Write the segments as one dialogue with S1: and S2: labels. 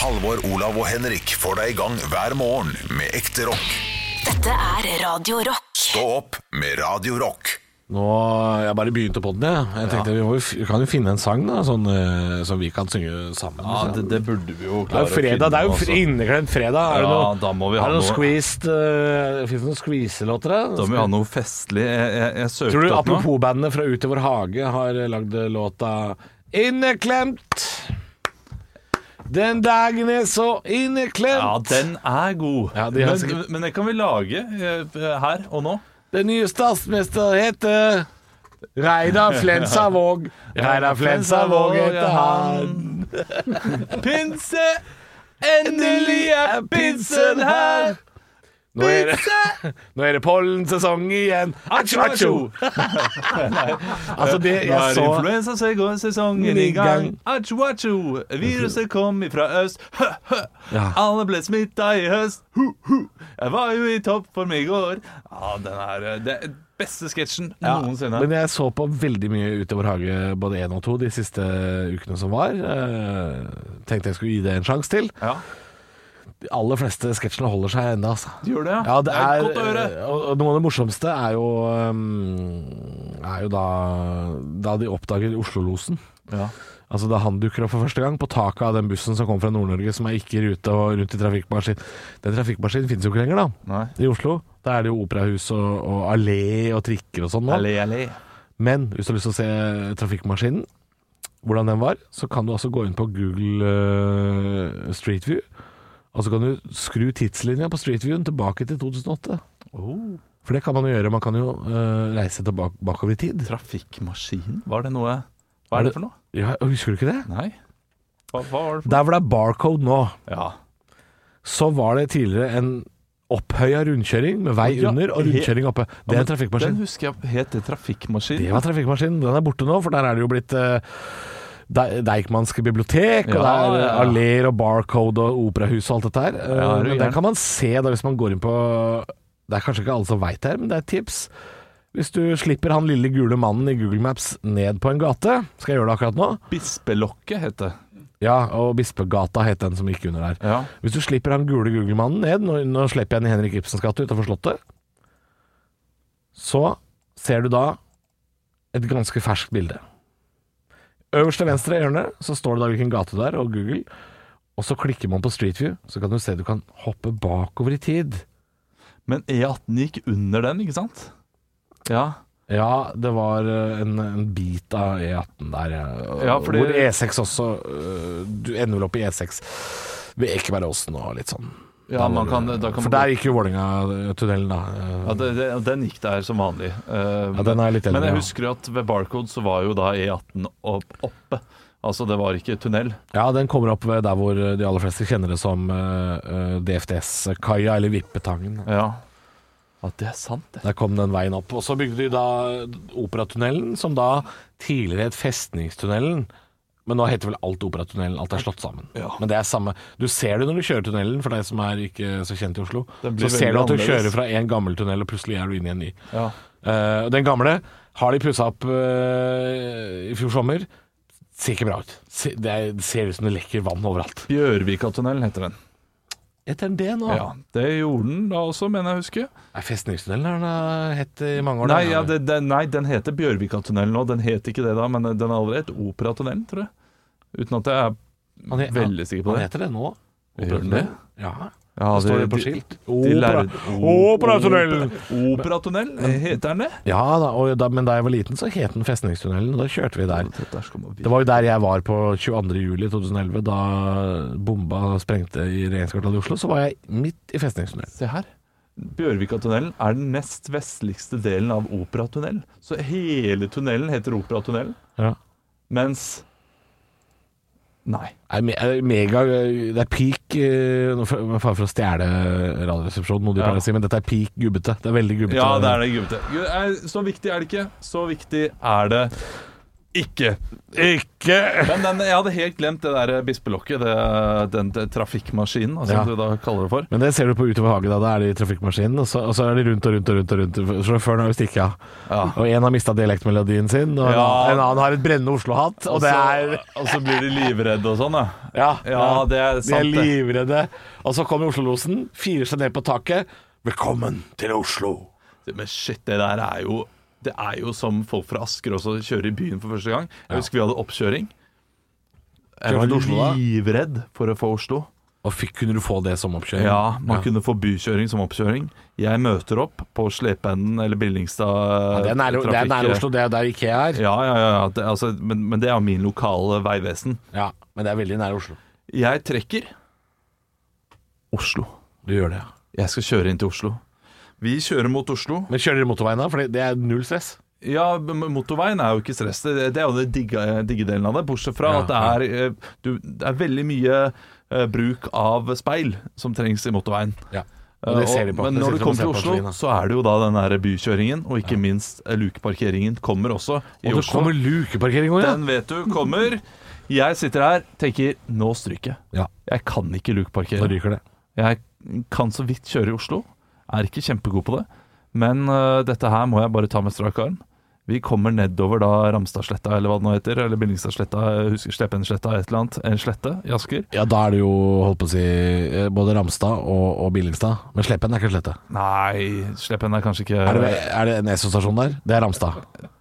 S1: Halvor, Olav og Henrik får deg i gang hver morgen med ekte rock.
S2: Dette er Radio Rock.
S1: Stå opp med Radio Rock.
S3: Nå, Jeg bare begynte på den, jeg. Jeg tenkte vi, må, jo f- vi kan jo finne en sang da, sånn, eh, som vi kan synge sammen.
S4: Ja,
S3: liksom.
S4: det, det burde vi jo
S3: det er
S4: klare altså.
S3: jo fredag, det er jo fr- inneklemt fredag. Er det
S4: Ja,
S3: noe,
S4: da må vi ha
S3: er det noe
S4: noe-
S3: squeezed uh, Fins det noen squeezelåter der?
S4: Da må vi ha noe festlig. Jeg, jeg, jeg søkte
S3: Tror du
S4: opp nå.
S3: apropos bandet fra Ut i vår hage har eh, lagd låta Inneklemt? Den dagen er så inneklemt.
S4: Ja, den er god.
S3: Ja, de har
S4: men,
S3: sikkert-
S4: men den kan vi lage eh, her og nå.
S3: Den nye statsminister heter Reidar Flensavåg. Reidar Flensavåg heter han.
S4: Pinse! Endelig er pinsen her!
S3: Nå er det, nå er det pollensesong igjen. Atsjo, atsjo! Altså, det
S4: Nå
S3: jeg
S4: er
S3: så
S4: influensasesongen i gang. Atsjo, atsjo. Viruset kom ifra øst. Hø, hø.
S3: Ja.
S4: Alle ble smitta i høst. Hu, hu. Jeg var jo i toppform i går. Ja, den er eh, det er beste sketsjen
S3: ja,
S4: noensinne.
S3: men jeg så på veldig mye utover hage, både én og to, de siste ukene som var. Eh, Tenkte jeg skulle gi det en sjanse til.
S4: Ja,
S3: De aller fleste sketsjene holder seg ennå, altså.
S4: du gjør det, ja.
S3: Ja, det er,
S4: godt å høre.
S3: Og, og noe av det morsomste er jo, um, er jo da, da de oppdager Oslo-losen.
S4: Ja.
S3: Altså Da han dukker opp for første gang på taket av den bussen som kom fra Nord-Norge, som er ikke i rute og rundt i trafikkmaskin. Den trafikkmaskinen finnes jo ikke lenger, da.
S4: Nei.
S3: I Oslo. Da er det jo operahus og, og allé og trikker og sånn nå.
S4: Allé, allé.
S3: Men hvis du har lyst til å se trafikkmaskinen, hvordan den var, så kan du altså gå inn på Google eh, Street View, og så kan du skru tidslinja på Street Viewen tilbake til 2008.
S4: Oh.
S3: For det kan man jo gjøre. Man kan jo eh, reise tilbake bakover i tid.
S4: Trafikkmaskin? Var det noe Hva er det for noe?
S3: Ja, Husker du ikke det?
S4: Nei. Hva, hva var det for
S3: Der hvor det er barcode nå,
S4: noe? Ja.
S3: så var det tidligere en opphøya rundkjøring med vei
S4: Ja,
S3: under og rundkjøring oppe. Det er en trafikkmaskin.
S4: Den husker jeg het det trafikkmaskin.
S3: Det var trafikkmaskinen. Den er borte nå, for der er det jo blitt eh, De- Deichmanske bibliotek, og
S4: Ja,
S3: det er
S4: ja.
S3: alleer og barcode og operahus og alt dette her. Eh,
S4: Ja, er du
S3: men
S4: gæren?
S3: der kan man se, da, hvis man går inn på Det er kanskje ikke alle som veit det her, men det er et tips. Hvis du slipper han lille gule mannen i Google Maps ned på en gate Skal jeg gjøre det akkurat nå?
S4: Bispelokket het det.
S3: Ja, og Bispegata het den som gikk under der.
S4: Ja.
S3: Hvis du slipper han gule Google-mannen ned Nå, nå slipper jeg den i Henrik Ibsens gate utenfor Slottet Så ser du da et ganske ferskt bilde Øverst til venstre i hjørnet Så står det da hvilken gate det er og Google Og så klikker man på Street View Så kan du se du kan hoppe bakover i tid
S4: Men E18 gikk under den, ikke sant? Ja.
S3: Ja, det var eh, en, en bit av E18 der eh,
S4: Ja, fordi-
S3: Hvor E6 også eh, Du ender vel opp i E6 Ved Ekebergåsen og litt sånn
S4: ja man kan, da kan
S3: For
S4: man
S3: der gikk jo Vålinga-tunnelen da eh,
S4: ja, det, det, Den gikk der som vanlig. Eh,
S3: Ja, den er litt eldre,
S4: men jeg
S3: ja.
S4: husker jo at ved Barcode så var jo da E18 opp, oppe. Altså, det var ikke tunnel.
S3: Ja, den kommer opp ved der hvor de aller fleste kjenner det som eh, eh, DFDS-kaia, eller Vippetangen.
S4: Ja. At det er sant, det.
S3: Der kom den veien opp. Og så bygde de da Operatunnelen, som da tidligere het Festningstunnelen. Men nå heter vel alt Operatunnelen. Alt er slått sammen.
S4: Ja.
S3: Men det er samme Du ser det når du kjører tunnelen, for deg som er ikke så kjent i Oslo.
S4: Den blir
S3: Så ser du
S4: veldig
S3: at du
S4: annerledes.
S3: kjører fra en gammel tunnel, og plutselig er du inne i en ny.
S4: Ja.
S3: Eh, og den gamle har de pussa opp eh, i fjor sommer. Ser ikke bra ut. Se, det, er, det ser ut som det lekker vann overalt.
S4: Bjørvikatunnelen heter den.
S3: Etter det nå?
S4: Ja, Det gjorde den da også, mener jeg å huske.
S3: Er festningstunnelen har den har hett i mange år?
S4: Nei,
S3: da.
S4: ja, det, det, nei, den heter Bjørvikatunnelen nå. Den het ikke det da, men den er allerede hett Operatunnelen, tror jeg. Uten at jeg
S3: Han
S4: er
S3: het-
S4: veldig sikker på
S3: Han
S4: det.
S3: heter det nå.
S4: Gjør den det?
S3: Ja.
S4: Ja,
S3: Det står
S4: de-
S3: det på
S4: de-
S3: skilt.
S4: de lærde-
S3: Opera- Operatunnelen!
S4: Opera- Operatunnel, heter den det?
S3: Ja da, og da, men da jeg var liten, så het den Festningstunnelen, og da kjørte vi der.
S4: Der skal man
S3: Det var jo der jeg var på 22. juli 2011, da bomba sprengte i regjeringskvartalet i Oslo. Så var jeg midt i Festningstunnelen.
S4: Se her. Bjørvikatunnelen er den nest vestligste delen av Operatunnel. Så hele tunnelen heter Operatunnelen,
S3: Ja.
S4: mens Nei.
S3: Er me- er mega, det er peak eh, Nå får jeg fare for å stjele Radioresepsjonen, noe de
S4: Ja.
S3: pleier å si, men dette er peak gubbete. Det er veldig gubbete.
S4: Ja, det er det gubbete. Gud, er- Så viktig er det ikke. Så viktig er det ikke.
S3: Ikke
S4: Men den, jeg hadde helt glemt det der bispelokket, det, den det, trafikkmaskinen, altså,
S3: Ja.
S4: som du da kaller det for.
S3: Men det ser du på utover hagen, da. Da er de i trafikkmaskinen, og så, og så er de rundt og rundt og rundt. og rundt Sjåføren har jo stikket av.
S4: Ja.
S3: Og én har mista dialektmelodien sin, og en
S4: Ja.
S3: annen- en annen har et brennende Oslo-hatt. Og det er
S4: så, og så blir de livredde og sånn, ja.
S3: Ja,
S4: Ja, det er
S3: De er
S4: sant, det.
S3: livredde. Og så kommer Oslo-losen, firer seg ned på taket. Velkommen til Oslo.
S4: Men shit, det der er jo Det er jo som folk fra Asker også kjører i byen for første gang. Jeg husker vi hadde oppkjøring. Jeg
S3: Kjørte
S4: var
S3: til Oslo, da?
S4: livredd for å få Oslo.
S3: Og fikk, kunne du få det som oppkjøring?
S4: Ja, man kunne få bykjøring som oppkjøring. Jeg møter opp på Slependen eller Billingstad
S3: Det er nære, det er nære Oslo, det er der Ikea er.
S4: Ja, ja, ja. Det, altså, men, men det er jo min lokale veivesen.
S3: Ja, Men det er veldig nære Oslo.
S4: Jeg trekker Oslo.
S3: Du gjør det, ja.
S4: Jeg skal kjøre inn til Oslo. Vi kjører mot Oslo.
S3: Men kjører dere motorveien da? For det- det er null stress.
S4: Ja, men motorveien er jo ikke stress. Det, det er jo den digge, digge delen av det. Bortsett fra
S3: Ja,
S4: at det er, eh, du, det er veldig mye eh, bruk av speil som trengs i motorveien.
S3: Ja.
S4: Eh,
S3: Og det ser de
S4: og-
S3: på.
S4: Men
S3: Det
S4: når
S3: sitter
S4: du
S3: de og
S4: kommer til
S3: ser på på
S4: Oslo, så er det jo da den der bykjøringen, og ikke minst eh, lukeparkeringen kommer også i
S3: Og det sånn-
S4: Oslo.
S3: kommer lukeparkering òg, ja.
S4: Den vet du kommer. Jeg sitter her, tenker nå stryker jeg.
S3: ja.
S4: Jeg kan ikke lukeparkere.
S3: Da ryker det.
S4: Jeg kan så vidt kjøre i Oslo. Er ikke kjempegod på det. Men øh, dette her må jeg bare ta med strak arm. Vi kommer nedover da Ramstadsletta, eller hva det nå heter. Eller Billingstadsletta, jeg husker Sleppensletta, et eller annet. En slette i Asker.
S3: Ja, da er det jo, holdt på å si, eh, både Ramstad og, og Billingstad. Men Sleppen er ikke slette.
S4: Nei, Sleppen er kanskje ikke
S3: Er det, er det en Esso-stasjon der? Det er Ramstad.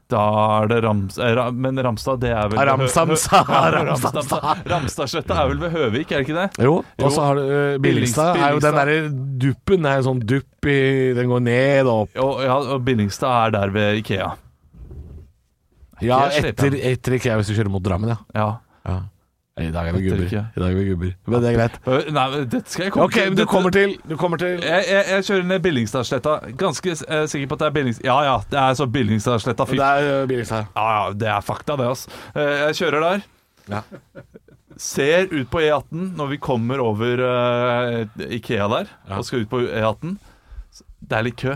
S4: Da er det Rams... eh, Ra- Men Ramstad, det er vel
S3: Ah, Ramsamsa,
S4: Ja,
S3: Ramsamsa.
S4: Ramsamsa. Ramstadsletta er vel ved Høvik, er det ikke det?
S3: Jo, og så har du eh, Billingstad. er jo den
S4: Billingstad.
S3: derre duppen. Det er en sånn dupp i Den går ned og opp.
S4: Og, ja, og Billingstad er der ved Ikea.
S3: Ja,
S4: Ikke
S3: etter,
S4: Slepen.
S3: etter ikke jeg hvis du kjører mot Drammen, ja.
S4: Ja.
S3: ja. I dag er vi
S4: Etter
S3: gubber.
S4: ikke.
S3: I dag er vi gubber. Men det er greit.
S4: Øh, Nei, men dette skal jeg komme
S3: Ok, men du
S4: Dette-
S3: kommer til Du kommer til
S4: Jeg, jeg, jeg kjører ned Billingstadsletta. Ganske eh, sikker på at det er Billingstad... Ja ja, det er så Billingstadsletta. Fy
S3: Det
S4: ja,
S3: er eh, Billingstad.
S4: ja, det er fakta, det, altså. jeg kjører der.
S3: Ja.
S4: Ser ut på E18 når vi kommer over eh, Ikea der og skal ut på E18. Det er litt kø,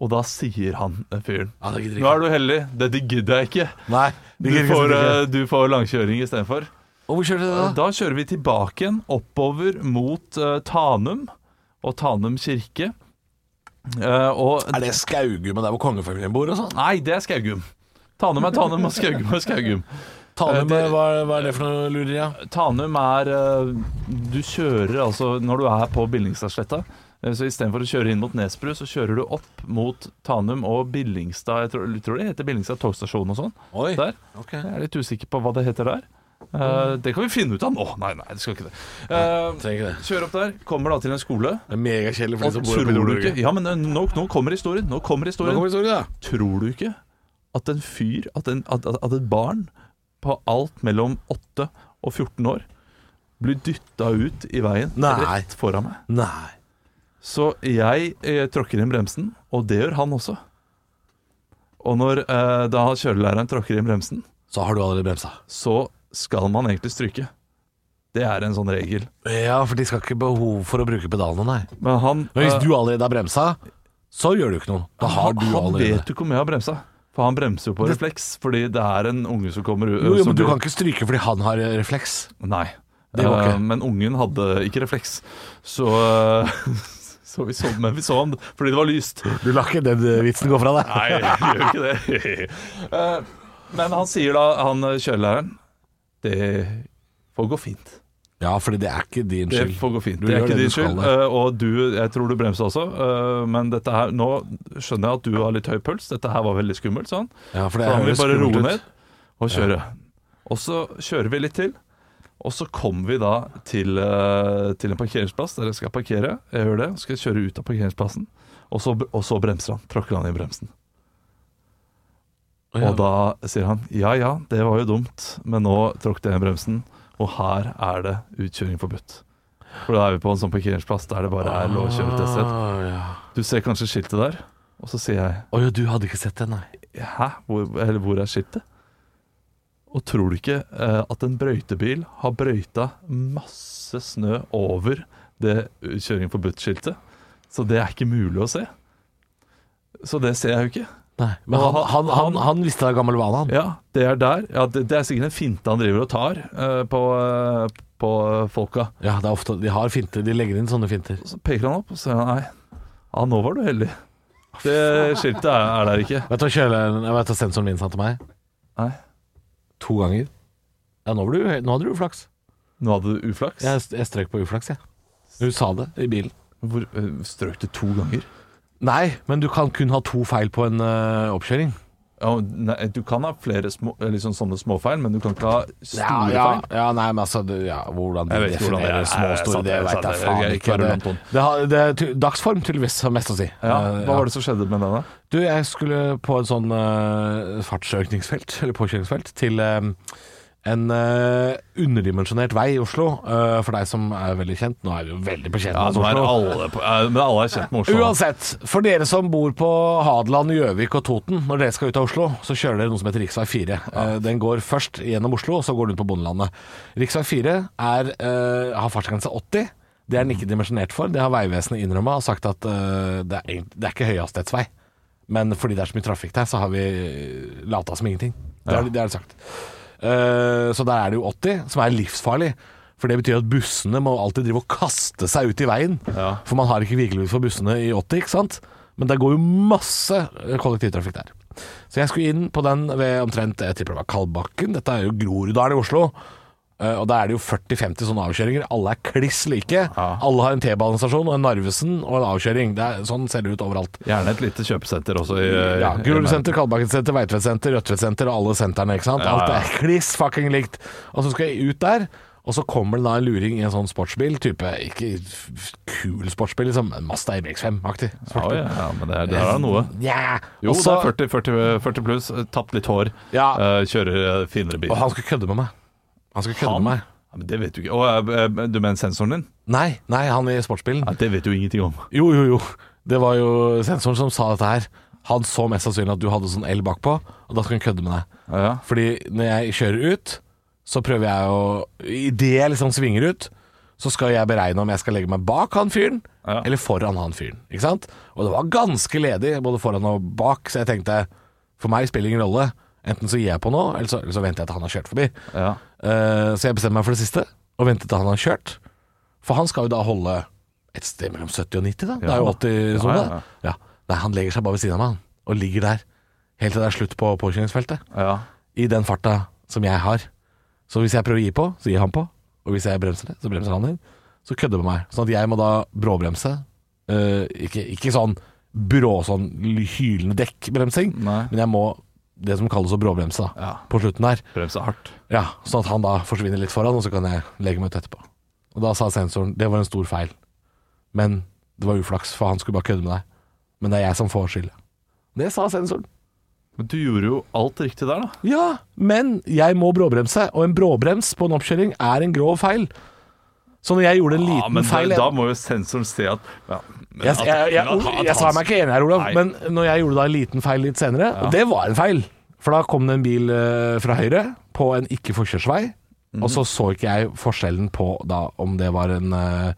S4: og da sier han eh, fyren
S3: Ja, det gidder
S4: Nå
S3: ikke.
S4: er du heldig. Dette gidder jeg ikke.
S3: Nei.
S4: Du
S3: Det gidder ikke.
S4: får,
S3: sånn
S4: eh, du får langkjøring istedenfor.
S3: ikke. Og hvor kjører du da?
S4: Da kjører vi tilbake igjen oppover mot eh, Tanum og Tanum kirke. Eh, og
S3: Er det Skaugummen der hvor kongefamilien bor og sånn?
S4: Nei, det er Skaugum. Tanum er Tanum og Skaugum er Skaugum.
S3: Tale
S4: Eh,
S3: med
S4: det-
S3: hva, hva er det for noe lureri, ja?
S4: Tanum er eh, Du kjører altså Når du er på Billingstadsletta eh, så Istedenfor å kjøre inn mot Nesbru, så kjører du opp mot Tanum og Billingstad. Jeg tror, jeg tror det heter Billingstad togstasjon og sånn.
S3: Oi.
S4: Der.
S3: Ok.
S4: Jeg er litt usikker på hva det heter der. Eh, det kan vi finne ut av nå. Nei, nei, det skal ikke det. Eh,
S3: Trenger ikke det.
S4: kjører opp der, kommer da til en skole.
S3: Det er megakjedelig for de
S4: Og
S3: som Liksom bor
S4: tror
S3: oppe i
S4: du ikke
S3: Nord-Norge.
S4: Ja, men eh, nå, nå kommer historien. Nå kommer
S3: Nå
S4: historien.
S3: kommer historien, da.
S4: Tror du ikke at en fyr, at, en, at, at- at et barn på alt mellom 8 og 14 år blir dytta ut i veien
S3: Nei.
S4: rett foran meg?
S3: Nei.
S4: Så jeg eh, tråkker inn bremsen, og det gjør han også. Og når eh, da kjørelæreren tråkker inn bremsen,
S3: Så har du allerede bremsa.
S4: så skal man egentlig stryke. Det er en sånn regel.
S3: Ja, for de skal ikke behov for å bruke pedalene, nei.
S4: Men han,
S3: Men hvis
S4: eh,
S3: du allerede har bremsa, så gjør du ikke noe. Da har
S4: han,
S3: du
S4: han
S3: allerede
S4: vet jo ikke om jeg har bremsa. For han bremser jo på refleks, fordi det er en unge som kommer
S3: jo, jo,
S4: eh, som
S3: men Du
S4: blir-
S3: kan ikke stryke fordi han har eh, refleks.
S4: Nei.
S3: Det var ikke.
S4: Eh, Men ungen hadde ikke refleks. Så, så vi så Men vi så han fordi det var lyst.
S3: Du lar ikke den eh, vitsen gå fra deg.
S4: Nei, jeg gjør ikke det. Eh, Men han sier da, han eh, kjørelæreren Det får gå fint.
S3: Ja, fordi det er ikke din
S4: Det
S3: skyld.
S4: får gå fint.
S3: Du
S4: Det er
S3: gjør
S4: ikke
S3: det
S4: din
S3: du skal
S4: skyld.
S3: der.
S4: eh, Og du, jeg tror du bremsa også, eh, men dette her Nå skjønner jeg at du har litt høy puls. Dette her var veldig skummelt, sånn. sa han.
S3: Ja, for det
S4: Så da må vi
S3: høres
S4: bare
S3: skummelt
S4: roe
S3: ut.
S4: ned og kjøre. Og så kjører vi litt til. Og så kommer vi da til, eh, til en parkeringsplass der jeg skal parkere. Jeg gjør det, så skal jeg kjøre ut av parkeringsplassen. Og så, og så bremser han. Tråkker han i bremsen.
S3: Ja.
S4: Og da sier han ja ja, det var jo dumt, men nå tråkket jeg i bremsen. Og her er det utkjøring forbudt. For da er vi på en sånn parkeringsplass der det bare er lov å kjøre til et sted.
S3: Å Ah, ja.
S4: Du ser kanskje skiltet der, og så sier jeg
S3: Å, ja, du hadde ikke sett den, nei.
S4: Hæ? Hvor, eller hvor er skiltet? Og tror du ikke eh, at en brøytebil har brøyta masse snø over det kjøring forbudt-skiltet? Så det er ikke mulig å se. Så det ser jeg jo ikke.
S3: Nei, men han, han, han, han visste det er gammel vane, han.
S4: Ja, det er der. Ja, det, det er sikkert en finte han driver og tar eh, på, eh, på folka.
S3: Ja, det er ofte, De har finter, de legger inn sånne finter.
S4: Så peker han opp og sier han, nei, ja, nå var du heldig. Det skiltet er, er der ikke.
S3: Vet du hva kjøleren- vet du hva sensoren min sa til meg?
S4: Nei,
S3: To ganger. Ja, nå, var du, nå hadde du uflaks.
S4: nå hadde du uflaks.
S3: Jeg, jeg strøk på uflaks, jeg. Hun sa det i bilen.
S4: Hvor, eh, strøk du to ganger?
S3: Nei, men du kan kun ha to feil på en ø, oppkjøring.
S4: Ja, nei, du kan ha flere små, eh, liksom sånne småfeil, men du kan ikke ha store
S3: ja,
S4: feil.
S3: ja, nei, men altså du- ja, Hvordan du
S4: Jeg vet ikke hvordan det
S3: definerer
S4: er.
S3: små og
S4: Nei,
S3: store,
S4: sant,
S3: det
S4: sant,
S3: veit jeg
S4: det er
S3: faen
S4: greit,
S3: ikke.
S4: bare
S3: Det,
S4: Anton.
S3: det, har- det, er ty- dagsform tydeligvis har mest å si.
S4: Ja,
S3: Eh,
S4: hva var det som skjedde med denne?
S3: Du, jeg skulle på en sånn eh, fartsøkningsfelt, eller påkjøringsfelt, til eh, en eh, underdimensjonert vei i Oslo. eh, for deg som er veldig kjent. Nå er vi jo veldig på kjent
S4: Ja,
S3: med
S4: nå er
S3: Oslo.
S4: alle på, eh, men alle er kjent med Oslo.
S3: Uansett, for dere som bor på Hadeland, Gjøvik og Toten, når dere skal ut av Oslo, så kjører dere noe som heter rv. 4. Eh, Den går først gjennom Oslo, og så går den ut på bondelandet. Rv. 4 er, eh, har fartsgrense 80. Det er den ikke dimensjonert for. Det har Vegvesenet innrømma og sagt at eh, det, er, egentlig- det er ikke høyhastighetsvei. Men fordi det er så mye trafikk der, så har vi lata som ingenting. Det er,
S4: Ja.
S3: det er det sagt. Eh, så der er det jo 80, som er livsfarlig. For det betyr at bussene må alltid drive og kaste seg ut i veien.
S4: Ja.
S3: For man har ikke virkelys for bussene i 80, ikke sant? Men det går jo masse eh, kollektivtrafikk der. Så jeg skulle inn på den ved omtrent jeg tipper det var Kalbakken. Dette er jo Groruddalen i Oslo. Eh, Og da er det jo 40-50 sånne avkjøringer. Alle er kliss like.
S4: Ja.
S3: Alle har en T-banestasjon og en Narvesen og en avkjøring. Det er, sånn ser det ut overalt.
S4: Gjerne et lite kjøpesenter også. I,
S3: Ja,
S4: i-
S3: Grorudsenter, Kalbakkensenter, Veitvedsenter, Rødtvedsenter og alle sentrene, ikke sant?
S4: Ja, ja.
S3: Alt er kliss fucking likt. Og så skal jeg ut der, og så kommer det da en luring i en sånn sportsbil, type ikke f- f- kul sportsbil, liksom, en Mazda MX5-aktig
S4: Ja,
S3: sportsbil.
S4: ja, ja, men det, er- det her er noe.
S3: Ja.
S4: Jo,
S3: Og så-
S4: det er 40, 40, 40 pluss, eh, tapt litt hår,
S3: Ja.
S4: eh, kjører eh, finere bil.
S3: Og han skal kødde med meg. Han skal kødde
S4: Han?
S3: med meg.
S4: Ja, men det vet du ikke. Og, eh, eh, du mener sensoren din?
S3: Nei, nei, han i sportsbilen.
S4: Ja, det vet du ingenting om.
S3: Jo, jo, jo. Det var jo sensoren som sa dette her. Han så mest sannsynlig at du hadde sånn L bakpå, og da skal han kødde med deg.
S4: Ja,
S3: Fordi når jeg kjører ut, så prøver jeg å Idet jeg liksom svinger ut, så skal jeg beregne om jeg skal legge meg bak han fyren,
S4: Ja.
S3: eller foran han fyren. Ikke sant? Og det var ganske ledig både foran og bak, så jeg tenkte For meg spiller det ingen rolle. Enten så gir jeg på nå, eller så, eller så venter jeg til han har kjørt forbi.
S4: ja.
S3: Eh, så jeg bestemmer meg for det siste, og venter til han har kjørt. For han skal jo da holde et sted mellom 70 og 90, da. Det er jo
S4: Ja.
S3: 80
S4: Ja,
S3: sånn,
S4: ja,
S3: det. Ja. Nei, han legger seg bare ved siden av meg, han. Og ligger der. Helt til det er slutt på påkjøringsfeltet
S4: ja.
S3: i den farta som jeg har. Så hvis jeg prøver å gi på, så gir han på. Og hvis jeg bremser det, så bremser han inn. Så kødder det med meg. Sånn at jeg må da bråbremse. Eh, ikke, ikke sånn brå, sånn hylende dekkbremsing,
S4: Nei.
S3: men jeg må det som kalles å bråbremse da,
S4: Ja.
S3: på slutten der.
S4: Bremse hardt.
S3: Ja, sånn at han da forsvinner litt foran, og så kan jeg legge meg ut etterpå. Og da sa sensoren det var en stor feil, men det var uflaks, for han skulle bare kødde med deg. Men det er jeg som får skylda. Det sa sensoren.
S4: Men du gjorde jo alt riktig der, da.
S3: Ja, men jeg må bråbremse, og en bråbrems på en oppkjøring er en grov feil. Så når jeg gjorde en liten
S4: ja, Ah, men
S3: feil
S4: da, da må jo sensoren se at ja, men
S3: jeg,
S4: at-
S3: jeg, jeg,
S4: men at- at
S3: jeg, jeg sa
S4: han-
S3: meg ikke enig her, Olav,
S4: Nei.
S3: men når jeg gjorde da en liten feil litt senere, og det var en feil, for da kom det en bil eh, fra høyre på en ikke-forkjørsvei, og
S4: Mhm.
S3: så så ikke jeg forskjellen på da om det var en eh,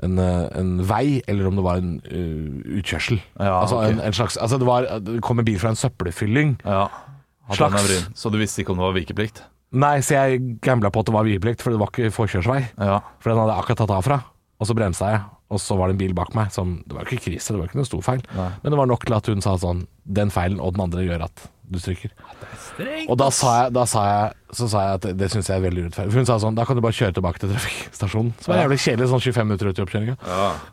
S3: en, eh, en vei, eller om det var en eh, utkjørsel.
S4: Ja,
S3: altså,
S4: ok.
S3: en, en slags, altså det, var, det kom en bil fra en søppelfylling.
S4: Ja. At han er
S3: Slags.
S4: vrien. Så du visste ikke om det var vikeplikt?
S3: Nei, så jeg gambla på at det var vikeplikt, for det var ikke forkjørsvei.
S4: Ja.
S3: For den hadde jeg akkurat tatt av fra. Og så bremsa jeg, og så var det en bil bak meg som Det var jo ikke krise, det var jo ikke noen stor feil.
S4: Nei.
S3: Men det var nok til at hun sa sånn Den feilen og den andre gjør at du stryker. Og da sa jeg, da sa jeg Så sa jeg at det syns jeg er veldig urettferdig. For hun sa sånn Da kan du bare kjøre tilbake til trafikkstasjonen. Som er jævlig kjedelig sånn 25 minutter ut i oppkjøringa.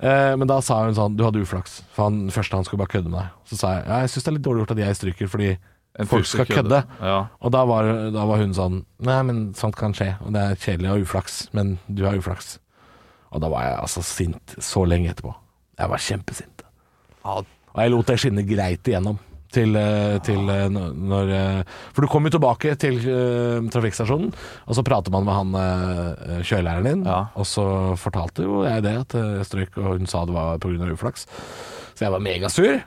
S3: Eh, men da sa hun sånn Du hadde uflaks. For han første han skulle bare kødde med deg. Så sa jeg ja, jeg syns det er litt dårlig gjort at jeg stryker fordi
S4: En
S3: folk
S4: fyr
S3: skal kødde.
S4: kødde. Ja.
S3: Og da var, da var hun sånn Nei, men sånt kan skje, og det er kjedelig og uflaks, men du har uflaks. Og da var jeg altså sint så lenge etterpå. Jeg var kjempesint. Og jeg lot det skinne greit igjennom. Til, eh, til eh, når- når eh, For du kom jo tilbake til eh, trafikkstasjonen, og så prater man med han eh, kjørelæreren din,
S4: Ja.
S3: og så fortalte jo jeg det, at eh, jeg strøk, og hun sa det var pga. uflaks. Så jeg var megasur.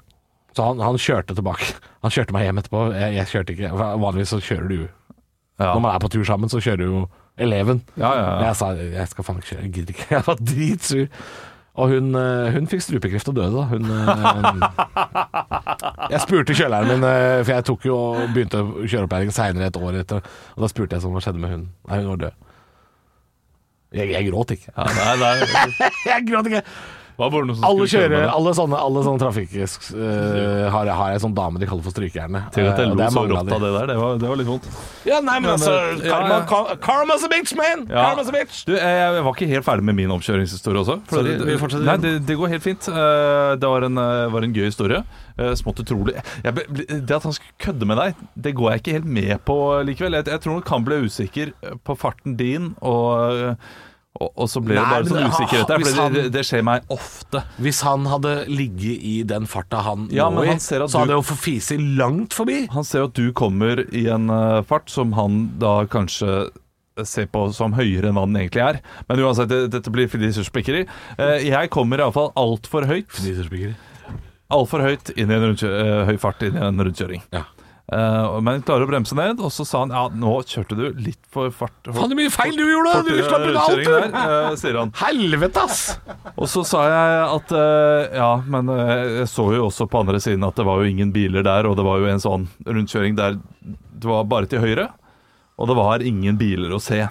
S3: Så han, han kjørte tilbake. Han kjørte meg hjem etterpå. Jeg, jeg kjørte ikke. Vanligvis så kjører du
S4: Ja.
S3: Når man er på tur sammen, så kjører jo eleven.
S4: Ja, ja, ja.
S3: Men Jeg sa jeg skal faen ikke kjøre, jeg gidder ikke. Jeg var dritsur. Og hun, eh, hun fikk strupekreft og døde, da. Hun, eh, jeg spurte kjøleren min, eh, for jeg tok jo og begynte kjøreopplæring seinere et år etter. Og da spurte jeg sånn, hva skjedde med hun? Nei, hun var død. Jeg, jeg gråt ikke.
S4: Ja, nei, nei.
S3: Jeg gråt ikke.
S4: Hva var det noen som
S3: Alle
S4: skulle
S3: kjører,
S4: med det?
S3: alle sånne, alle sånne trafikk... eh, har, har ei sånn dame de kaller for strykejerne.
S4: Til at
S3: Eh, og
S4: jeg lo
S3: det er
S4: så
S3: mange
S4: rått av det der, det var, det var litt vondt.
S3: Ja, nei, men altså
S4: Men, eh,
S3: Karma,
S4: ja, ja.
S3: ka- karma's a bitch, man!
S4: Ja.
S3: Karma's a bitch!
S4: Du, jeg, jeg var ikke helt ferdig med min omkjøringshistorie også. For
S3: Sorry,
S4: det-
S3: vi fortsetter.
S4: Nei, det, det går helt fint. Eh, Det var en, eh, var en gøy historie. Eh, Smått utrolig. Jeg, ble- ble- det at han skulle kødde med deg, det går jeg ikke helt med på likevel. Jeg, jeg tror han kan bli usikker på farten din, og, og, og så ble det
S3: Nei,
S4: bare
S3: men
S4: sånn
S3: det-
S4: usikkerhet der.
S3: hvis
S4: For det,
S3: han-
S4: det skjer meg ofte.
S3: Hvis han hadde ligget i den farta han
S4: Ja,
S3: lå
S4: men
S3: i,
S4: han ser at
S3: så
S4: du-
S3: hadde jo for fisi langt forbi.
S4: Han ser jo at du kommer i en eh, fart som han da kanskje ser på som høyere enn hva den egentlig er. Men uansett, det, dette blir filisurspikkeri. Uh, jeg kommer iallfall altfor høyt. Altfor høyt inn i en rundkjø eh, høy fart inn i en rundkjøring.
S3: Ja.
S4: Eh, men klarer å bremse ned, og så sa han ja, nå kjørte du litt for fart.
S3: Faen, så mye feil du gjorde! Du
S4: fortere
S3: slapp unna alt,
S4: rundkjøringen
S3: du!
S4: der», eh, sier han.
S3: Helvete, ass!
S4: Og så sa jeg at eh, ja, men eh, jeg så jo også på andre siden at det var jo ingen biler der, og det var jo en sånn rundkjøring der det var bare til høyre, og det var ingen biler å se.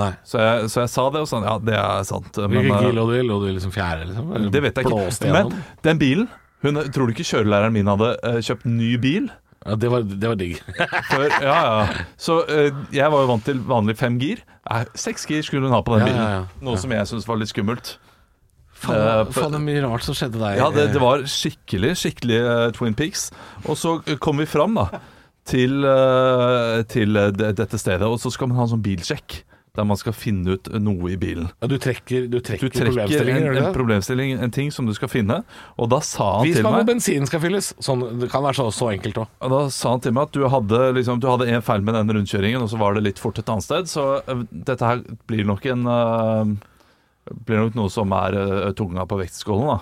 S3: Nei.
S4: Så jeg, så jeg sa det, og sånn ja, det er sant. men,
S3: Hvilken
S4: eh,
S3: gil lå du i? Lå du i liksom fjerde, liksom? Eller
S4: det vet jeg
S3: blåste
S4: ikke.
S3: gjennom?
S4: Men den bilen, hun, tror du ikke kjørelæreren min hadde eh, kjøpt ny bil?
S3: ja, det, var, det var digg.
S4: Eh, Før, ja, ja. Så eh, jeg var jo vant til vanlig fem gir. Nei, Seks gir skulle hun ha på den
S3: Ja,
S4: bilen.
S3: ja, ja.
S4: Noe som jeg syntes var litt skummelt.
S3: Faen,
S4: Eh,
S3: faen, det er mye rart som skjedde deg.
S4: Ja, det, det var skikkelig, skikkelig eh, Twin Peaks. Og så eh, kom vi fram da til, eh, til eh, det- dette stedet, og så skal man ha en sånn bilsjekk. Der man skal finne ut eh, noe i bilen.
S3: Ja, du trekker, du trekker,
S4: Du trekker en,
S3: problemstillinger, gjør du
S4: en
S3: ikke det?
S4: problemstilling, en ting som du skal finne, og da sa han
S3: Vis
S4: til
S3: meg hvor
S4: meg
S3: bensin skal fylles. Sånn, det kan være så, så enkelt òg.
S4: Og Da sa han til meg at du hadde, liksom, du hadde en feil med den rundkjøringen, og så var det litt fort et annet sted, så eh, dette her blir nok en eh, Blir nok noe som er eh, tunga på vektskålen, da,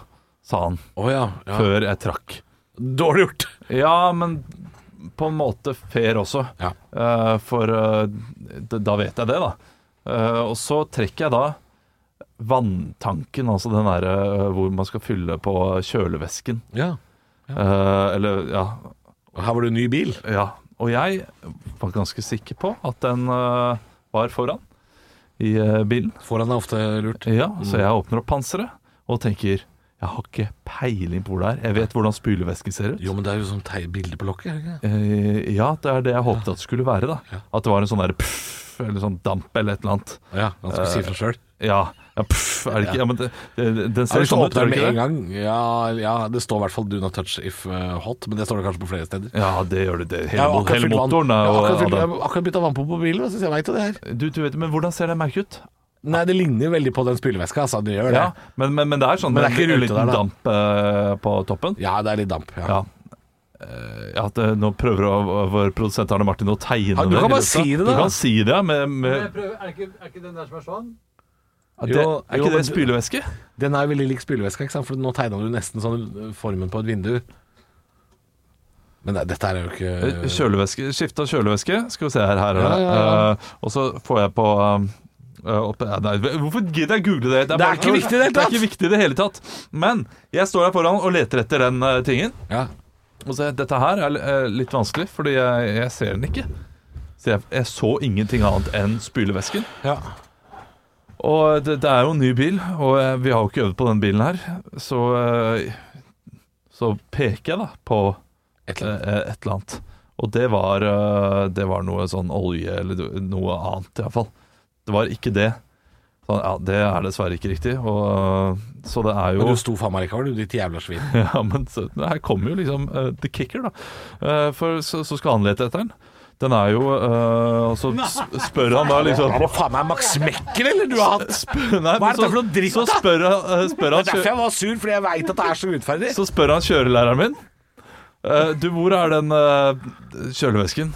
S4: sa han,
S3: Oh, ja, ja.
S4: før jeg trakk.
S3: Dårlig gjort.
S4: Ja, men på en måte fair også,
S3: Ja.
S4: eh, for eh, d- da vet jeg det, da. Eh, og så trekker jeg da vanntanken, altså den derre eh, hvor man skal fylle på kjølevæsken.
S3: Ja.
S4: Eh, eller, ja,
S3: Og Her var det ny bil.
S4: Ja, og jeg var ganske sikker på at den øh, var foran i øh, bilen.
S3: Foran er ofte lurt.
S4: Ja, så jeg åpner opp panseret og tenker jeg har ikke peiling på hvor det er. Jeg vet hvordan spylevæsken ser ut.
S3: Jo, men det er jo sånn tei- bilde på lokket. er det ikke det?
S4: Eh, ja, det er det jeg håpet at det skulle være. da
S3: Ja.
S4: At det var en sånn der pff, eller sånn damp eller et eller annet.
S3: Ja, han skal si fra sjøl.
S4: Ja, ja pff, er det ikke Ja, men det, det, den ser
S3: Hvis Eh, du
S4: sånn ut,
S3: åpner
S4: gjør
S3: den
S4: den
S3: med
S4: ikke
S3: en
S4: det?
S3: gang ja, ja, det står i hvert fall 'do not touch if uh, hot', men det står det kanskje på flere steder.
S4: Ja, det gjør det. det.
S3: Jeg har
S4: Hele,
S3: akkurat
S4: hele
S3: fylt vann-
S4: motoren
S3: jeg
S4: er
S3: har
S4: jo
S3: akkurat fylt-
S4: av
S3: Jeg
S4: den.
S3: har akkurat bytta vannpumpe på bilen, da, så jeg veit jo det her.
S4: Du, du vet, men hvordan ser det merket ut?
S3: Nei, det ligner veldig på den spyleveska, altså. Det gjør det.
S4: Ja, men, men, men det er sånn
S3: Men det er
S4: med en-
S3: ikke rute
S4: en
S3: der,
S4: liten
S3: da.
S4: damp eh, på toppen.
S3: Ja, det er litt damp. Ja.
S4: Ja. Eh, ja, at, eh, nå prøver å- vår produsent Arne Martin å tegne
S3: Ja, du
S4: det
S3: kan
S4: i
S3: bare
S4: lufta.
S3: si det,
S4: Du
S3: da.
S4: kan si det, ja, med, med,
S5: er, ikke, er ikke den der som er sånn?
S4: at
S3: Jo,
S4: det,
S3: jo,
S4: Er ikke
S3: men
S4: det spylevæske?
S3: Den er jo veldig lik spyleveska, ikke sant? for nå tegna du nesten sånn uh, formen på et vindu. Men nei, dette er jo ikke
S4: Eh, Kjølevæske, Skifta kjølevæske. Skal vi se her. her er
S3: Ja,
S4: det.
S3: ja, ja.
S4: Eh, og så får jeg på eh, opp, eh, nei, Hvorfor gidder jeg google det?
S3: Det er ikke viktig i det hele
S4: Det er
S3: tatt.
S4: ikke viktig i det hele tatt. Men jeg står her foran og leter etter den eh, tingen.
S3: ja.
S4: Og så, er dette her er eh, litt vanskelig, fordi jeg, jeg ser den ikke. Så jeg, jeg så ingenting annet enn spylevæsken.
S3: Ja.
S4: Og det, det er jo en ny bil, og eh, vi har jo ikke øvd på den bilen her. Så, eh, så peker jeg da på
S3: Et
S4: eh,
S3: eller annet.
S4: et eller annet. Og det var, eh, det var noe sånn olje eller noe annet, iallfall. Det var ikke det. Så, ja, det er dessverre ikke riktig. Og, eh, så det er jo
S3: Men du sto faen meg likevel, du ditt jævla svin.
S4: ja, men så, men her kommer jo liksom eh, the kicker, da. Eh, for så, så skal han lete etter den. Den er jo eh, Og så s- spør han da liksom
S3: Er det faen meg Max Mekker, eller du har hatt?
S4: Spør- nei, men
S3: dette
S4: så-
S3: for noe dritt,
S4: Så
S3: da?
S4: spør, han- eh, spør,
S3: Det
S4: han,
S3: er derfor
S4: kjø-
S3: jeg var sur, fordi jeg veit at det er så urettferdig.
S4: så spør han kjørelæreren min eh, Du, hvor er den eh, kjølevesken?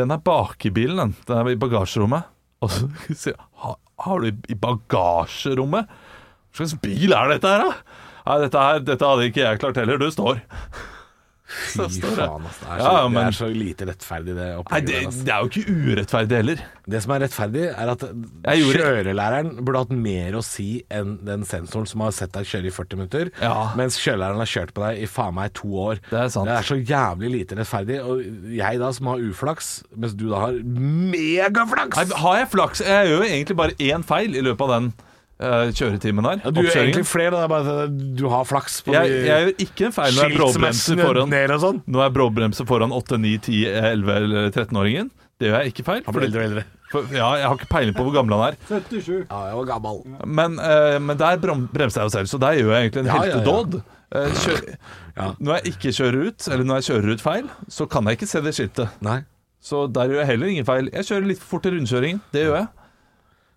S4: Den er bak i bilen, den. Den er i bagasjerommet. Og så sier han "Ha- Har du i- i bagasjerommet? Hva slags bil er dette her, da? Nei, dette, her, dette hadde ikke jeg klart heller. Du står. Så
S3: Fy
S4: står det.
S3: faen, altså. Det er, så,
S4: Ja, ja, men-
S3: det er så lite rettferdig, det
S4: Nei,
S3: opplegget.
S4: det,
S3: der, altså.
S4: det er jo ikke urettferdig heller.
S3: Det som er rettferdig, er at
S4: gjorde-
S3: kjørelæreren burde hatt mer å si enn den sensoren som har sett deg kjøre i 40 minutter,
S4: Ja.
S3: mens kjørelæreren har kjørt på deg i faen meg to år.
S4: Det er sant.
S3: Det er så jævlig lite rettferdig. Og jeg da, som har uflaks, mens du da har megaflaks!
S4: Nei, har jeg flaks? Jeg gjør jo egentlig bare én feil i løpet av den eh, kjøretimen her.
S3: Ja, du gjør
S4: oppkjøringen.
S3: egentlig flere, da. Det er bare at du har flaks på
S4: jeg,
S3: de-
S4: jeg gjør ikke en feil når jeg bråbremser
S3: skilsmessene
S4: foran
S3: ned og sånn.
S4: Når jeg bråbremser foran 8, 9, 10, 11 eller 13-åringen. Det gjør jeg ikke feil.
S3: Han blir eldre og eldre.
S4: for, ja, jeg har ikke peiling på hvor gammel han er.
S5: 77.
S3: Ja, jeg var gammel.
S4: Men, eh, men der brom- bremser jeg jo selv, så der gjør jeg egentlig en
S3: Ja, ja, ja.
S4: heltedåd. Eh, kjø-
S3: Ja.
S4: Når jeg ikke kjører ut, eller når jeg kjører ut feil, så kan jeg ikke se det skiltet.
S3: Nei.
S4: Så der gjør jeg heller ingen feil. Jeg kjører litt for fort i rundkjøringen. Det gjør jeg.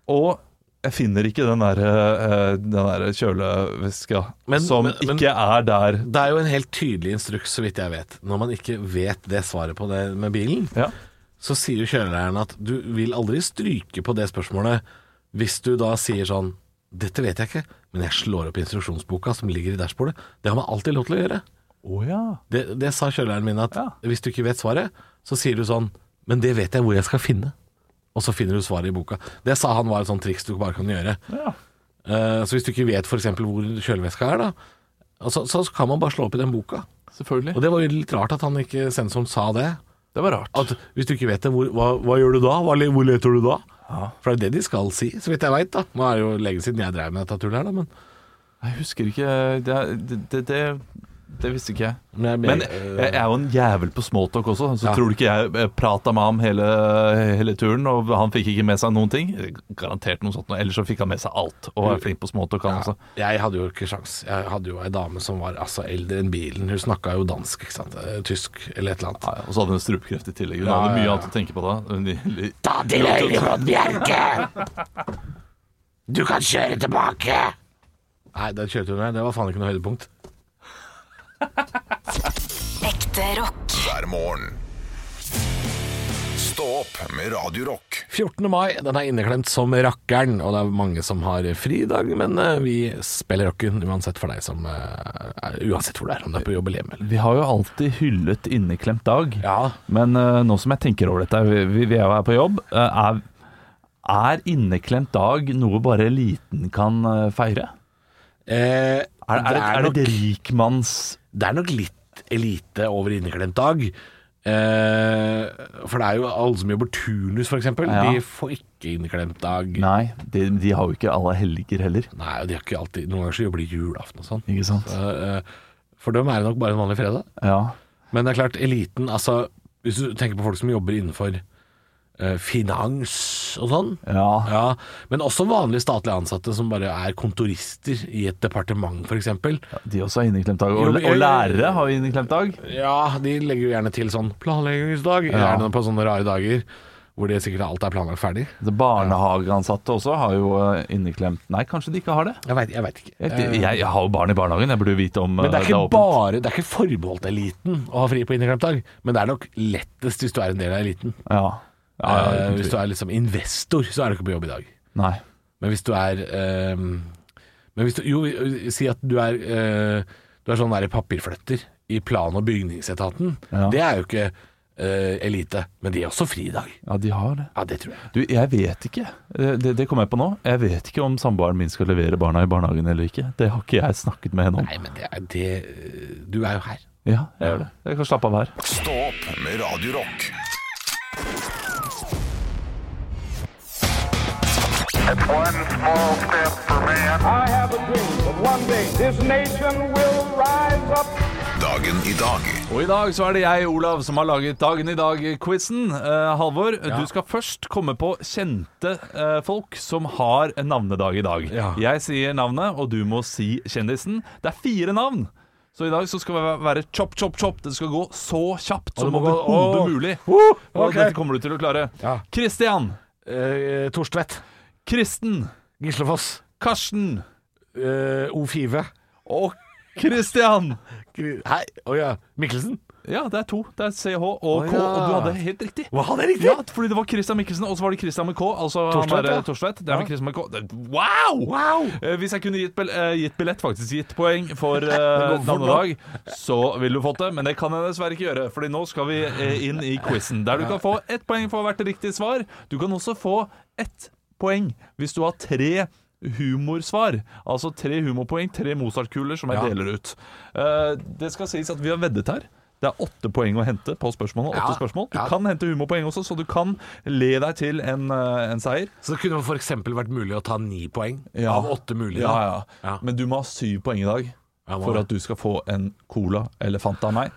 S4: Og jeg finner ikke den der, eh, den der kjøleveska
S3: Men-
S4: som
S3: men- men-
S4: ikke er der.
S3: Det er jo en helt tydelig instruks, så vidt jeg vet. Når man ikke vet det svaret på det med bilen,
S4: Ja.
S3: så sier jo kjørelæreren at du vil aldri stryke på det spørsmålet hvis du da sier sånn Dette vet jeg ikke, men jeg slår opp instruksjonsboka som ligger i dashbordet. Det har man alltid lov til å gjøre.
S4: Å ja.
S3: Det, det sa kjørelæreren min at
S4: Ja.
S3: hvis du ikke vet svaret, så sier du sånn Men det vet jeg hvor jeg skal finne. Og så finner du svaret i boka. Det sa han var et sånt triks du bare kan gjøre.
S4: ja.
S3: Eh, så hvis du ikke vet f.eks. hvor kjøleveska er, da, og så, så kan man bare slå opp i den boka. Og
S4: Selvfølgelig.
S3: det var jo litt rart at han ikke sensoren sa det.
S4: Det var rart.
S3: At hvis du ikke vet det, hvor, hva, hva gjør du da? Hva, le- hvor leter du da?
S4: Ja.
S3: For det er jo det de skal si, så vidt jeg veit, da. Nå er det jo lenge siden jeg drev med dette tullet her, da, men,
S4: Jeg husker ikke Det, er- det, det, det, det visste ikke jeg.
S3: men, jeg,
S4: Men
S3: eh,
S4: jeg er jo en jævel på smalltalk også, så
S3: Ja.
S4: tror du ikke jeg prata med ham hele, hele turen, og han fikk ikke med seg noen ting? Garantert noe sånt, noe, ellers så fikk han med seg alt, og er flink på smalltalk, han også.
S3: Jeg hadde jo ikke sjans. Jeg hadde jo ei dame som var altså eldre enn bilen. Hun snakka jo dansk, ikke sant. Eh, Tysk eller et eller annet.
S4: Ja, ja, og så hadde hun strupekreft i tillegg. Hun
S3: Ja,
S4: hadde
S3: ja,
S4: mye
S3: ja.
S4: annet å tenke på da. Hun-
S3: Ta til høyre, Råd Bjerke! Du kan kjøre tilbake! Nei, den kjøreturen her, det var faen ikke noe høydepunkt.
S2: Ekte rock.
S1: hver morgen. Stå opp med Radio Rock.
S3: 14. mai, den er inneklemt som rakkeren, og det er mange som har fri i dag, men eh, vi spiller rocken uansett for deg som eh, er, Uansett hvor du er, om du er på jobb eller hjemme. eller-
S4: Vi har jo alltid hyllet inneklemt dag,
S3: Ja,
S4: men eh, nå som jeg tenker over dette, vi, vi- vi er jo her på jobb, eh, er, er inneklemt dag noe bare eliten kan eh, feire?
S3: eh,
S4: Er, er, det, er
S3: nok,
S4: det et rikmanns
S3: det er nok litt elite over inneklemt dag. Eh, for det er jo alle som jobber turnus, f.eks. eksempel
S4: Ja.
S3: De får ikke inneklemt dag. Nei.
S4: Nei, de, de har jo ikke alle helger heller.
S3: og de har ikke alltid Noen ganger så jobber de julaften og sånn.
S4: Ikke sant?
S3: Eh, eh, for dem er det nok bare en vanlig fredag.
S4: Ja.
S3: Men det er klart, eliten altså, Hvis du tenker på folk som jobber innenfor eh, finans og sånn
S4: ja.
S3: ja, Men også vanlige statlige ansatte som bare er kontorister i et departement, f.eks.
S4: De også har inneklemt dag. Og,
S3: Jo, men jeg-
S4: og lærere har jo inneklemt dag.
S3: Ja, de legger jo gjerne til sånn planleggingsdag,
S4: Ja.
S3: gjerne på sånne rare dager hvor det sikkert alt er planlagt ferdig.
S4: Så Altså, Barnehageansatte også har jo eh, inneklemt Nei, kanskje de ikke har det?
S3: Jeg veit jeg vet ikke. Eh,
S4: Jeg, jeg, jeg har jo barn i barnehagen, jeg burde jo vite om
S3: Men det
S4: eh,
S3: er ikke
S4: åpent.
S3: bare, det er ikke forbeholdt eliten å ha fri på inneklemt dag, men det er nok lettest hvis du er en del av eliten.
S4: Ja. ja, ja,
S3: Eh,
S4: uten
S3: hvis
S4: tvil.
S3: du er liksom investor, så er du ikke på jobb i dag.
S4: Nei.
S3: Men hvis du er eh, men hvis du, Jo, si at du er eh, Du er sånn der papirflytter i plan- og bygningsetaten.
S4: Ja.
S3: Det er jo ikke eh, elite, men de er også fri i dag.
S4: Ja, de har det.
S3: Ja, det tror jeg.
S4: Du, jeg vet ikke. Det, det, det kom jeg på nå. Jeg vet ikke om samboeren min skal levere barna i barnehagen eller ikke. Det har ikke jeg snakket med henne om.
S3: Nei, men det er det eh, Du er jo her.
S4: Ja, jeg gjør det. Jeg kan slappe av her.
S1: Stå opp med Radio Rock.
S6: One small step for man.
S7: I have a dream that one day this nation will rise up.
S1: Dagen i dag
S4: Og i dag så er det jeg, Olav, som har laget Dagen i dag-quizen. Halvor, du skal først komme på kjente eh, folk som har en navnedag i dag.
S3: Ja.
S4: Jeg sier navnet, og du må si kjendisen. Det er fire navn. Så i dag så skal det være chop, chop, chop. Det skal gå så kjapt
S3: det
S4: som
S3: må gå-
S4: overhodet
S3: Åh.
S4: mulig.
S3: Uh,
S4: Og dette kommer du til å klare.
S3: Ja.
S4: Kristian.
S3: Eh, Torstvedt.
S4: Kristen.
S3: Gislefoss.
S4: Karsten.
S3: eh, O4.
S4: Og Kristian.
S3: Gri- Hei. Å ja. Mikkelsen.
S4: Ja, det er to. Det er CH og
S3: Å,
S4: K, og du
S3: ja.
S4: hadde helt riktig.
S3: Hva, hadde jeg riktig?
S4: Ja, fordi det var Christian Mikkelsen, og så var det Christian med K. Altså
S3: Torstvedt,
S4: Torstvedt.
S3: ja.
S4: Ja. Torstvedt. Det er
S3: Ja.
S4: med Christian med K. Det- Wow!
S3: Wow!
S4: Eh, Hvis jeg kunne gitt, bel- eh, gitt billett, faktisk gitt poeng for uh,
S3: går fort nå.
S4: navnedag, så ville du fått det. Men det kan jeg dessverre ikke gjøre, Fordi nå skal vi eh, inn i quizen. Der du kan få ett poeng for hvert riktig svar. Du kan også få ett poeng hvis du har tre humorsvar. Altså tre humorpoeng, tre Mozart-kuler som jeg
S3: Ja.
S4: deler ut. Eh, det skal sies at vi har veddet her. Det er åtte poeng å hente på spørsmålet. Åtte
S3: Ja.
S4: spørsmål. Du
S3: Ja.
S4: kan hente humorpoeng også, så du kan le deg til en, eh, en seier.
S3: Så det kunne f.eks. vært mulig å ta ni poeng
S4: Ja.
S3: av åtte mulige.
S4: Ja, ja.
S3: Ja.
S4: Men du må ha syv poeng i dag
S3: Jeg må
S4: for
S3: det.
S4: at du skal få en cola eller Fanta av meg.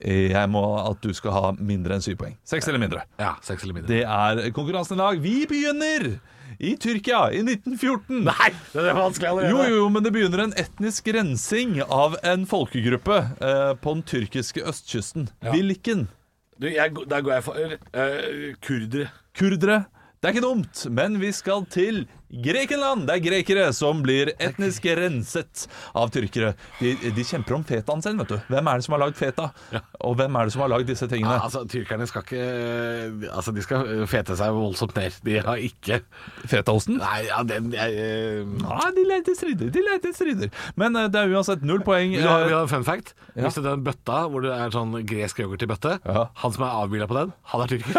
S4: Jeg må at du skal ha mindre enn syv poeng. Seks eller mindre.
S3: Ja, seks eller mindre.
S4: Det er konkurransen i dag. Vi begynner i Tyrkia i 1914. Nei!
S3: Det, er vanskelig
S4: Jo,
S3: allerede.
S4: jo, men det begynner en etnisk rensing av en folkegruppe eh, på den tyrkiske østkysten. Hvilken?
S3: Du, jeg, der går jeg for eh, kurdere.
S4: Kurdere. Det er ikke dumt, men vi skal til Grekenland. Det er grekere som blir etnisk renset av tyrkere. De, de kjemper om fetaen sin, vet du. Hvem er det som har lagd feta? Og hvem er det som har lagd disse
S3: Ja,
S4: tingene?
S3: altså, Tyrkerne skal ikke Altså, de skal fete seg voldsomt ned. De har ikke
S4: Fetaosten?
S3: Nei, ja, den jeg, eh,
S4: Ja, de leter strider, de leter strider. Men eh, det er uansett null poeng.
S3: Vil du ha, vil du
S4: eh,
S3: ha en fun fact? Hvis du den bøtta hvor det er sånn gresk yoghurt i bøtte,
S4: Ja.
S3: han som er avbilda på den, han er tyrker.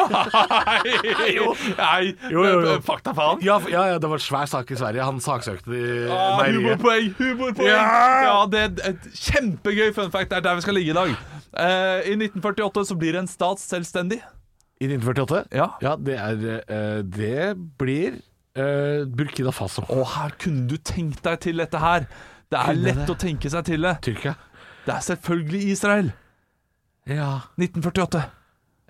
S4: Nei, jo, nei, eh,
S3: Jo, jo, jo.
S4: fakta faen.
S3: Ja, for- ja, ja, det var en svær sak i Sverige. Han saksøkte de
S4: Ah,
S3: meieriet.
S4: humorpoeng! humorpoeng
S3: Ja!
S4: Ja, det er et kjempegøy fun fact. Det er der vi skal ligge i dag. Eh, I 1948 så blir en stat selvstendig.
S3: I 1948?
S4: Ja.
S3: ja det, er, eh, det blir eh, Burkina Faso.
S4: Å, her kunne du tenkt deg til dette her. Det er
S3: Kunne
S4: lett
S3: det.
S4: å tenke seg til det.
S3: Tyrkia.
S4: Det er selvfølgelig Israel.
S3: Ja.
S4: 1948.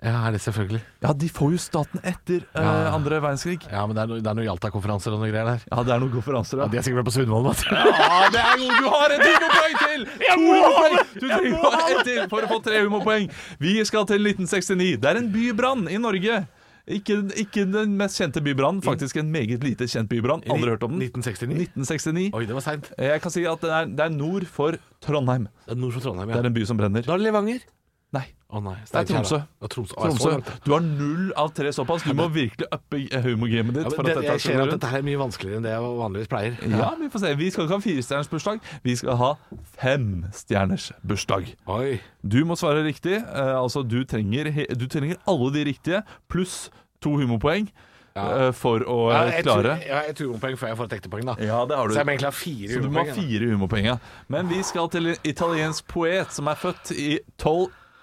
S3: ja, er det selvfølgelig.
S4: Ja, de får jo staten etter eh,
S3: Ja.
S4: andre verdenskrig.
S3: Ja, men det er, no, det er noen Jalta-konferanser og noen greier der.
S4: Ja, det er noen konferanser,
S3: Ja,
S4: ja.
S3: de er sikkert vært på Sundvolden. vet du.
S4: Ja, det er god. Du har et humorpoeng til! Jeg må ha det! Du trenger bare ett til for å få tre humorpoeng. Vi skal til 1969. Det er en bybrann i Norge. Ikke, ikke den mest kjente bybrannen, faktisk en meget lite kjent bybrann. Aldri hørt om den.
S3: 1969?
S4: 1969.
S3: Oi, det var seint.
S4: Jeg kan si at det er, det er nord for Trondheim.
S3: Det er nord for Trondheim,
S4: Det
S3: ja.
S4: er en by som brenner.
S3: Da er det Levanger.
S4: Nei.
S3: Å nei.
S4: Det er Tromsø.
S3: Det er Tromsø. Å, jeg så
S4: Tromsø.
S3: langt, ja.
S4: Du har null av tre såpass. Du må virkelig uppe humorgamet ditt.
S3: Ja,
S4: for
S3: men
S4: at
S3: det,
S4: dette
S3: jeg
S4: skal
S3: ser at
S4: gå rundt.
S3: dette her er mye vanskeligere enn det jeg vanligvis pleier.
S4: Ja, Vi får se. Vi skal ikke ha firestjerners bursdag, vi skal ha femstjerners bursdag.
S3: Oi.
S4: Du må svare riktig. Eh, altså, du trenger, he- du trenger alle de riktige, pluss to humorpoeng eh, for å
S3: Ja,
S4: eh,
S3: jeg
S4: klare.
S3: tror- Ja, jeg tror poeng før jeg får et ekte poeng, da.
S4: Ja, det har du.
S3: Så jeg må egentlig ha fire
S4: Så du må ha
S3: humorpoeng, da.
S4: fire humorpoeng. ja. Men vi skal til en italiensk poet som er født i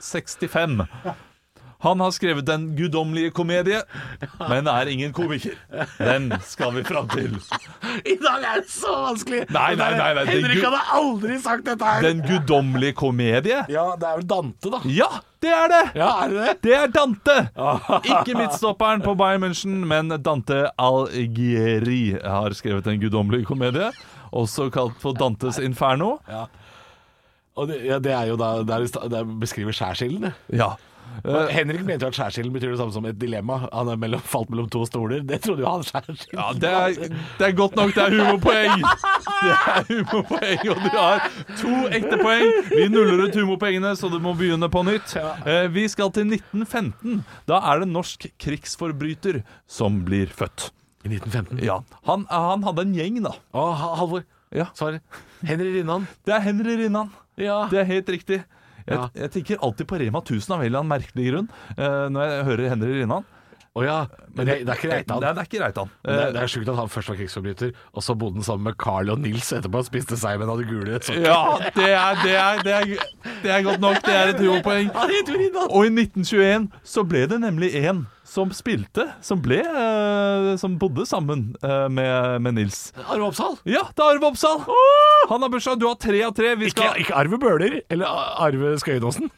S4: 1265. Han har skrevet Den guddommelige komedie, men er ingen komiker. Den skal vi fram til.
S3: I dag er det så vanskelig!
S4: Nei, nei, nei, nei, det er
S3: Henrik
S4: gu-
S3: hadde aldri sagt dette her!
S4: Den guddommelige komedie?
S3: Ja, det er vel Dante, da.
S4: Ja, det er det!
S3: Ja, er det det?
S4: Det er Dante! Ikke midtstopperen på Bayern München, men Dante Algieri har skrevet Den guddommelige komedie, også kalt for Dantes Inferno.
S3: Og det, ja, det er jo da det, er, i sta- det beskriver skjærsilden. det.
S4: Ja.
S3: Og Henrik mente jo at skjærsilden betyr det samme som et dilemma. Han er mellom, falt mellom to stoler. Det trodde jo han skjærsilden.
S4: Ja, det er, det er godt nok. Det er humorpoeng. Det er humorpoeng, og du har to ekte poeng. Vi nuller ut humorpoengene, så du må begynne på nytt. Eh, Vi skal til 1915. Da er det en norsk krigsforbryter som blir født.
S3: I 1915.
S4: Ja, Han, eh, han hadde en gjeng, da.
S3: Å, Ha- Halvor.
S4: Ja.
S3: Svaret. Henry Rinnan.
S4: Det er Henry Rinnan.
S3: Ja.
S4: Det er helt riktig. Jeg,
S3: Ja.
S4: jeg tenker alltid på Rema 1000 av en eller annen merkelig grunn eh, når jeg hører Henry Rinnan.
S3: Å ja. Men det, det er ikke Reitan.
S4: Nei, det er ikke Reitan.
S3: Men Det, det er sjukt at han først var krigsforbryter, og så bodde han sammen med Carl og Nils etterpå og spiste seg, men hadde gule sokker.
S4: Ja, det er, det, er, det, er, det er godt nok. Det er et humorpoeng. Og i 1921 så ble det nemlig en som spilte, som ble eh, Som bodde sammen eh, med, med Nils.
S3: Arve Oppsal?
S4: Ja, det er Arve Oppsal! Han har bursdag. Du har tre av tre. Vi
S3: Ikke,
S4: skal
S3: ikke Arve Bøhler eller A- Arve Skøyenåsen?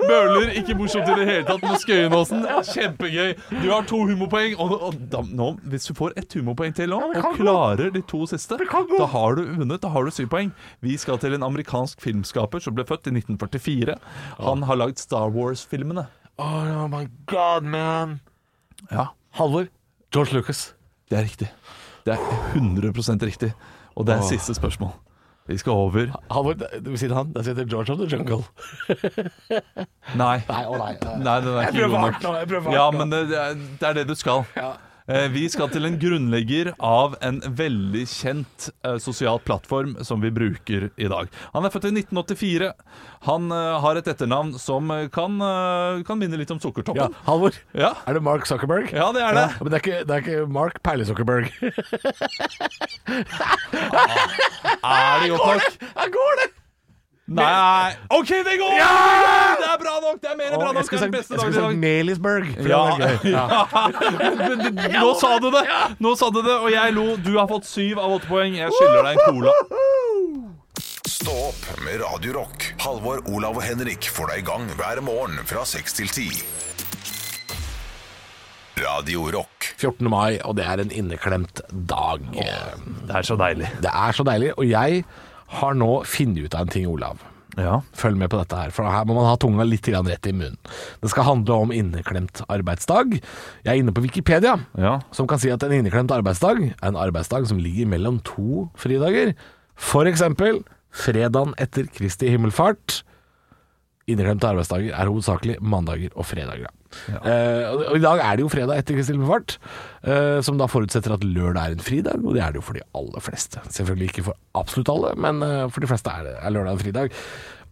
S4: Bøhler, ikke morsomt i det hele tatt, men Skøyenåsen. Kjempegøy. Du har to humorpoeng. Og, og da, nå, hvis du får ett humorpoeng til nå, og klarer de to siste, da har du vunnet. Da har du syv poeng. Vi skal til en amerikansk filmskaper som ble født i 1944. Han har lagd Star Wars-filmene.
S3: Oh my god, man.
S4: Ja,
S3: Halvor. George Lucas.
S4: det er riktig. Det er 100 riktig. Og det er siste spørsmål. Vi skal over.
S3: Han, ved siden av han, der sitter George of the Jungle.
S4: Nei.
S3: Nei, å nei. nei.
S4: Nei, den er
S3: Jeg
S4: ikke
S3: prøver
S4: god
S3: hardt
S4: nok.
S3: nå. jeg prøver hardt
S4: Ja,
S3: nå.
S4: men det, det er- det er det du skal.
S3: Ja.
S4: Eh, Vi skal til en grunnlegger av en veldig kjent eh, sosial plattform som vi bruker i dag. Han er født i 1984. Han eh, har et etternavn som eh, kan, eh, kan minne litt om
S3: ja,
S4: Sukkertoppen.
S3: Halvor,
S4: Ja.
S3: er det Mark Zuckerberg?
S4: ja, det er det.
S3: Men det er ikke, det er ikke Mark Perle Zuckerberg.
S4: Er det godt nok?
S3: Her går det!
S4: Nei OK, det går! Det er bra nok! Det er mer enn bra
S3: jeg
S4: nok. Det
S3: skulle sagt,
S4: er den
S3: jeg
S4: beste
S3: skulle
S4: dagen i dag.
S3: sagt Melisburg. for
S4: Ja,
S3: det var gøy.
S4: ja. Men det- Nå sa du det! Nå sa du det, og jeg lo. Du har fått syv av åtte poeng. Jeg skylder deg en cola.
S1: Stå opp med Radio Rock. Halvor, Olav og Henrik får deg i gang hver morgen fra 6 til 10. Radio Rock.
S3: 14. mai, og det er en inneklemt dag.
S4: Det er så deilig.
S3: Det er så deilig. Og jeg har nå funnet ut av en ting, Olav.
S4: Ja.
S3: Følg med på dette her, for her må man ha tunga litt grann rett i munnen. Det skal handle om inneklemt arbeidsdag. Jeg er inne på Wikipedia,
S4: Ja.
S3: som kan si at en inneklemt arbeidsdag er en arbeidsdag som ligger mellom to fridager. For eksempel fredagen etter Kristi himmelfart. Inneklemte arbeidsdager er hovedsakelig mandager og fredager. da. Eh, og- og I dag er det jo fredag etter Kristi himmelfart, eh, som da forutsetter at lørdag er en fridag, og det er det jo for de aller fleste. Selvfølgelig ikke for absolutt alle, men eh, for de fleste er, det, er lørdag en fridag.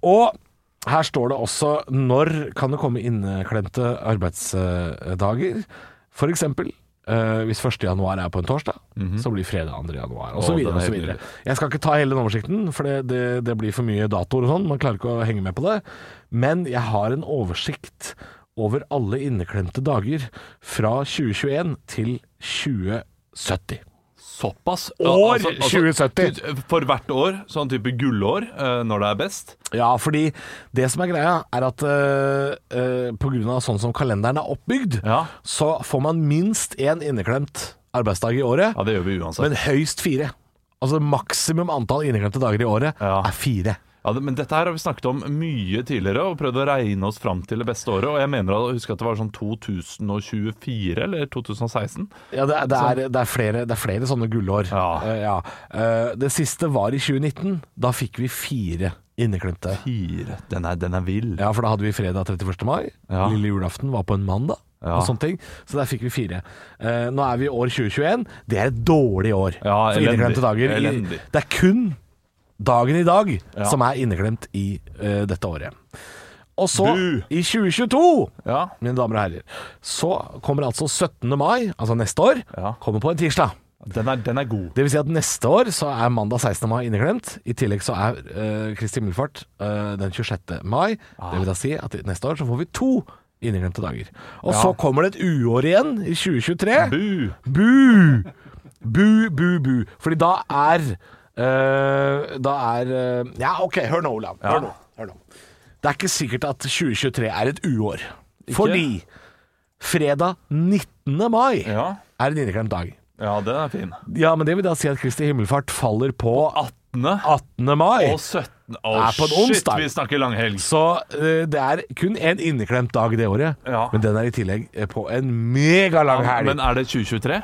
S3: Og her står det også når kan det komme inneklemte arbeidsdager. For eksempel eh, hvis 1. januar er på en torsdag, så blir fredag 2. januar, og så
S4: Mhm. Å,
S3: videre
S4: den
S3: og
S4: er
S3: så
S4: helt
S3: videre. Jeg skal ikke ta hele den oversikten, for det, det, det blir for mye datoer og sånn. Man klarer ikke å henge med på det. Men jeg har en oversikt over alle inneklemte dager fra 2021 til 2070.
S4: Såpass.
S3: År
S4: Altså- altså-
S3: 2070.
S4: For hvert år, sånn type gullår, eh, når det er best.
S3: Ja, fordi det som er greia, er at øh, øh, på grunn av sånn som kalenderen er oppbygd,
S4: Ja.
S3: så får man minst én inneklemt arbeidsdag i året,
S4: Ja, det gjør vi uansett.
S3: men høyst fire. Altså maksimum antall inneklemte dager i året
S4: Ja.
S3: er fire.
S4: Ja, det, men dette her har vi snakket om mye tidligere og prøvd å regne oss fram til det beste året. Og jeg mener å huske at det var sånn 2024 eller 2016.
S3: Ja, det er, det er, det er, flere, det er flere sånne gullår.
S4: Ja.
S3: Eh, ja. Eh, det siste var i 2019. Da fikk vi fire inneklemte.
S4: Fire. Den er, den er vill.
S3: Ja, for da hadde vi fredag 31. mai.
S4: Ja.
S3: Lille julaften var på en mandag.
S4: Ja.
S3: Og sånne ting. Så der fikk vi fire. Eh, nå er vi i år 2021. Det er et dårlig år
S4: Ja,
S3: for
S4: elendig.
S3: inneklemte dager. I-
S4: Elendig.
S3: Det er kun dagen i dag
S4: Ja.
S3: som er inneklemt i eh, dette året. Og så,
S4: Bu.
S3: i 2022
S4: Ja.
S3: mine damer og herrer. Så kommer altså 17. mai, altså neste år,
S4: Ja.
S3: kommer på en tirsdag.
S4: Den, er, den er god.
S3: Det vil si at neste år så er mandag 16. mai inneklemt. I tillegg så er eh, Kristi himmelfart eh, den 26. mai.
S4: Ah.
S3: Det vil da si at neste år så får vi to inneklemte dager. Og så kommer det et uår igjen i 2023.
S4: Bu!
S3: Bu! Bu, bu, bu. Fordi da er eh, Da er eh, Ja, OK, hør nå, Olav. Hør nå, hør nå. Det er ikke sikkert at 2023 er et uår. Fordi fredag 19. mai
S4: Ja.
S3: er en inneklemt dag.
S4: ja, den er fin.
S3: Ja, men det vil da si at Kristi himmelfart faller på
S4: 18.
S3: 18. mai.
S4: og 17. Å,
S3: Det er på en
S4: shit,
S3: onsdag.
S4: vi snakker langhelg.
S3: Så eh, det er kun én inneklemt dag det året,
S4: Ja.
S3: men den er i tillegg eh, på en megalang helg.
S4: Men er det 2023?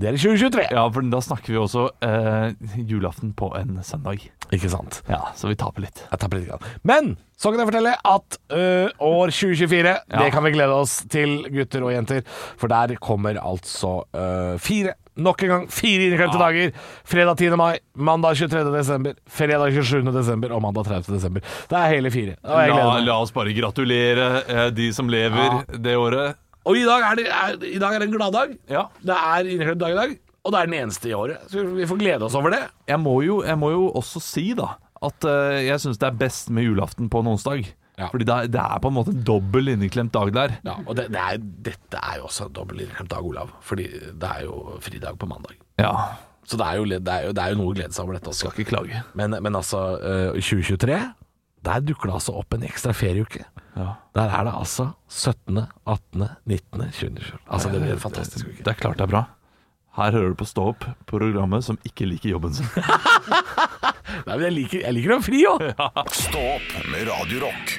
S3: Det er i 2023,
S4: Ja, for da snakker vi også eh, julaften på en søndag.
S3: ikke sant?
S4: Ja, så vi taper litt.
S3: Jeg tapper litt. Grann. Men så kan jeg fortelle at eh, år 2024, det kan vi glede oss til, gutter og jenter. For der kommer altså eh, fire. Nok en gang fire inneklemte dager. Fredag 10. mai, mandag 23. desember, fredag 27. desember og mandag 30. desember. Det er hele fire. Og jeg gleder
S4: La,
S3: meg.
S4: la oss bare gratulere eh, de som lever det året.
S3: Og i dag er det, er, i dag er det en gladdag.
S4: Ja.
S3: Det er inneklemt dag i dag, og det er den eneste i året. Så vi får glede oss over det.
S4: Jeg må jo, jeg må jo også si da at eh, jeg syns det er best med julaften på en onsdag.
S3: Ja.
S4: Fordi det er, det er på en måte en dobbel inneklemt dag der.
S3: Ja, og det, det er, dette er jo også en dobbel inneklemt dag, Olav. Fordi det er jo fridag på mandag.
S4: Ja,
S3: Så det er jo, det er jo, det er jo noe å glede seg over dette også.
S4: skal ikke klage.
S3: Men, men altså, eh, 2023, der dukker det altså opp en ekstra ferieuke.
S4: Ja.
S3: Der er det altså 17., 18., 19., 20. Altså, det blir en fantastisk uke.
S4: Det er klart det er bra. Her hører du på Stå opp, programmet som ikke liker jobben sin.
S3: Nei, men jeg liker, jeg liker den fri òg.
S1: Stå opp med Radio Rock.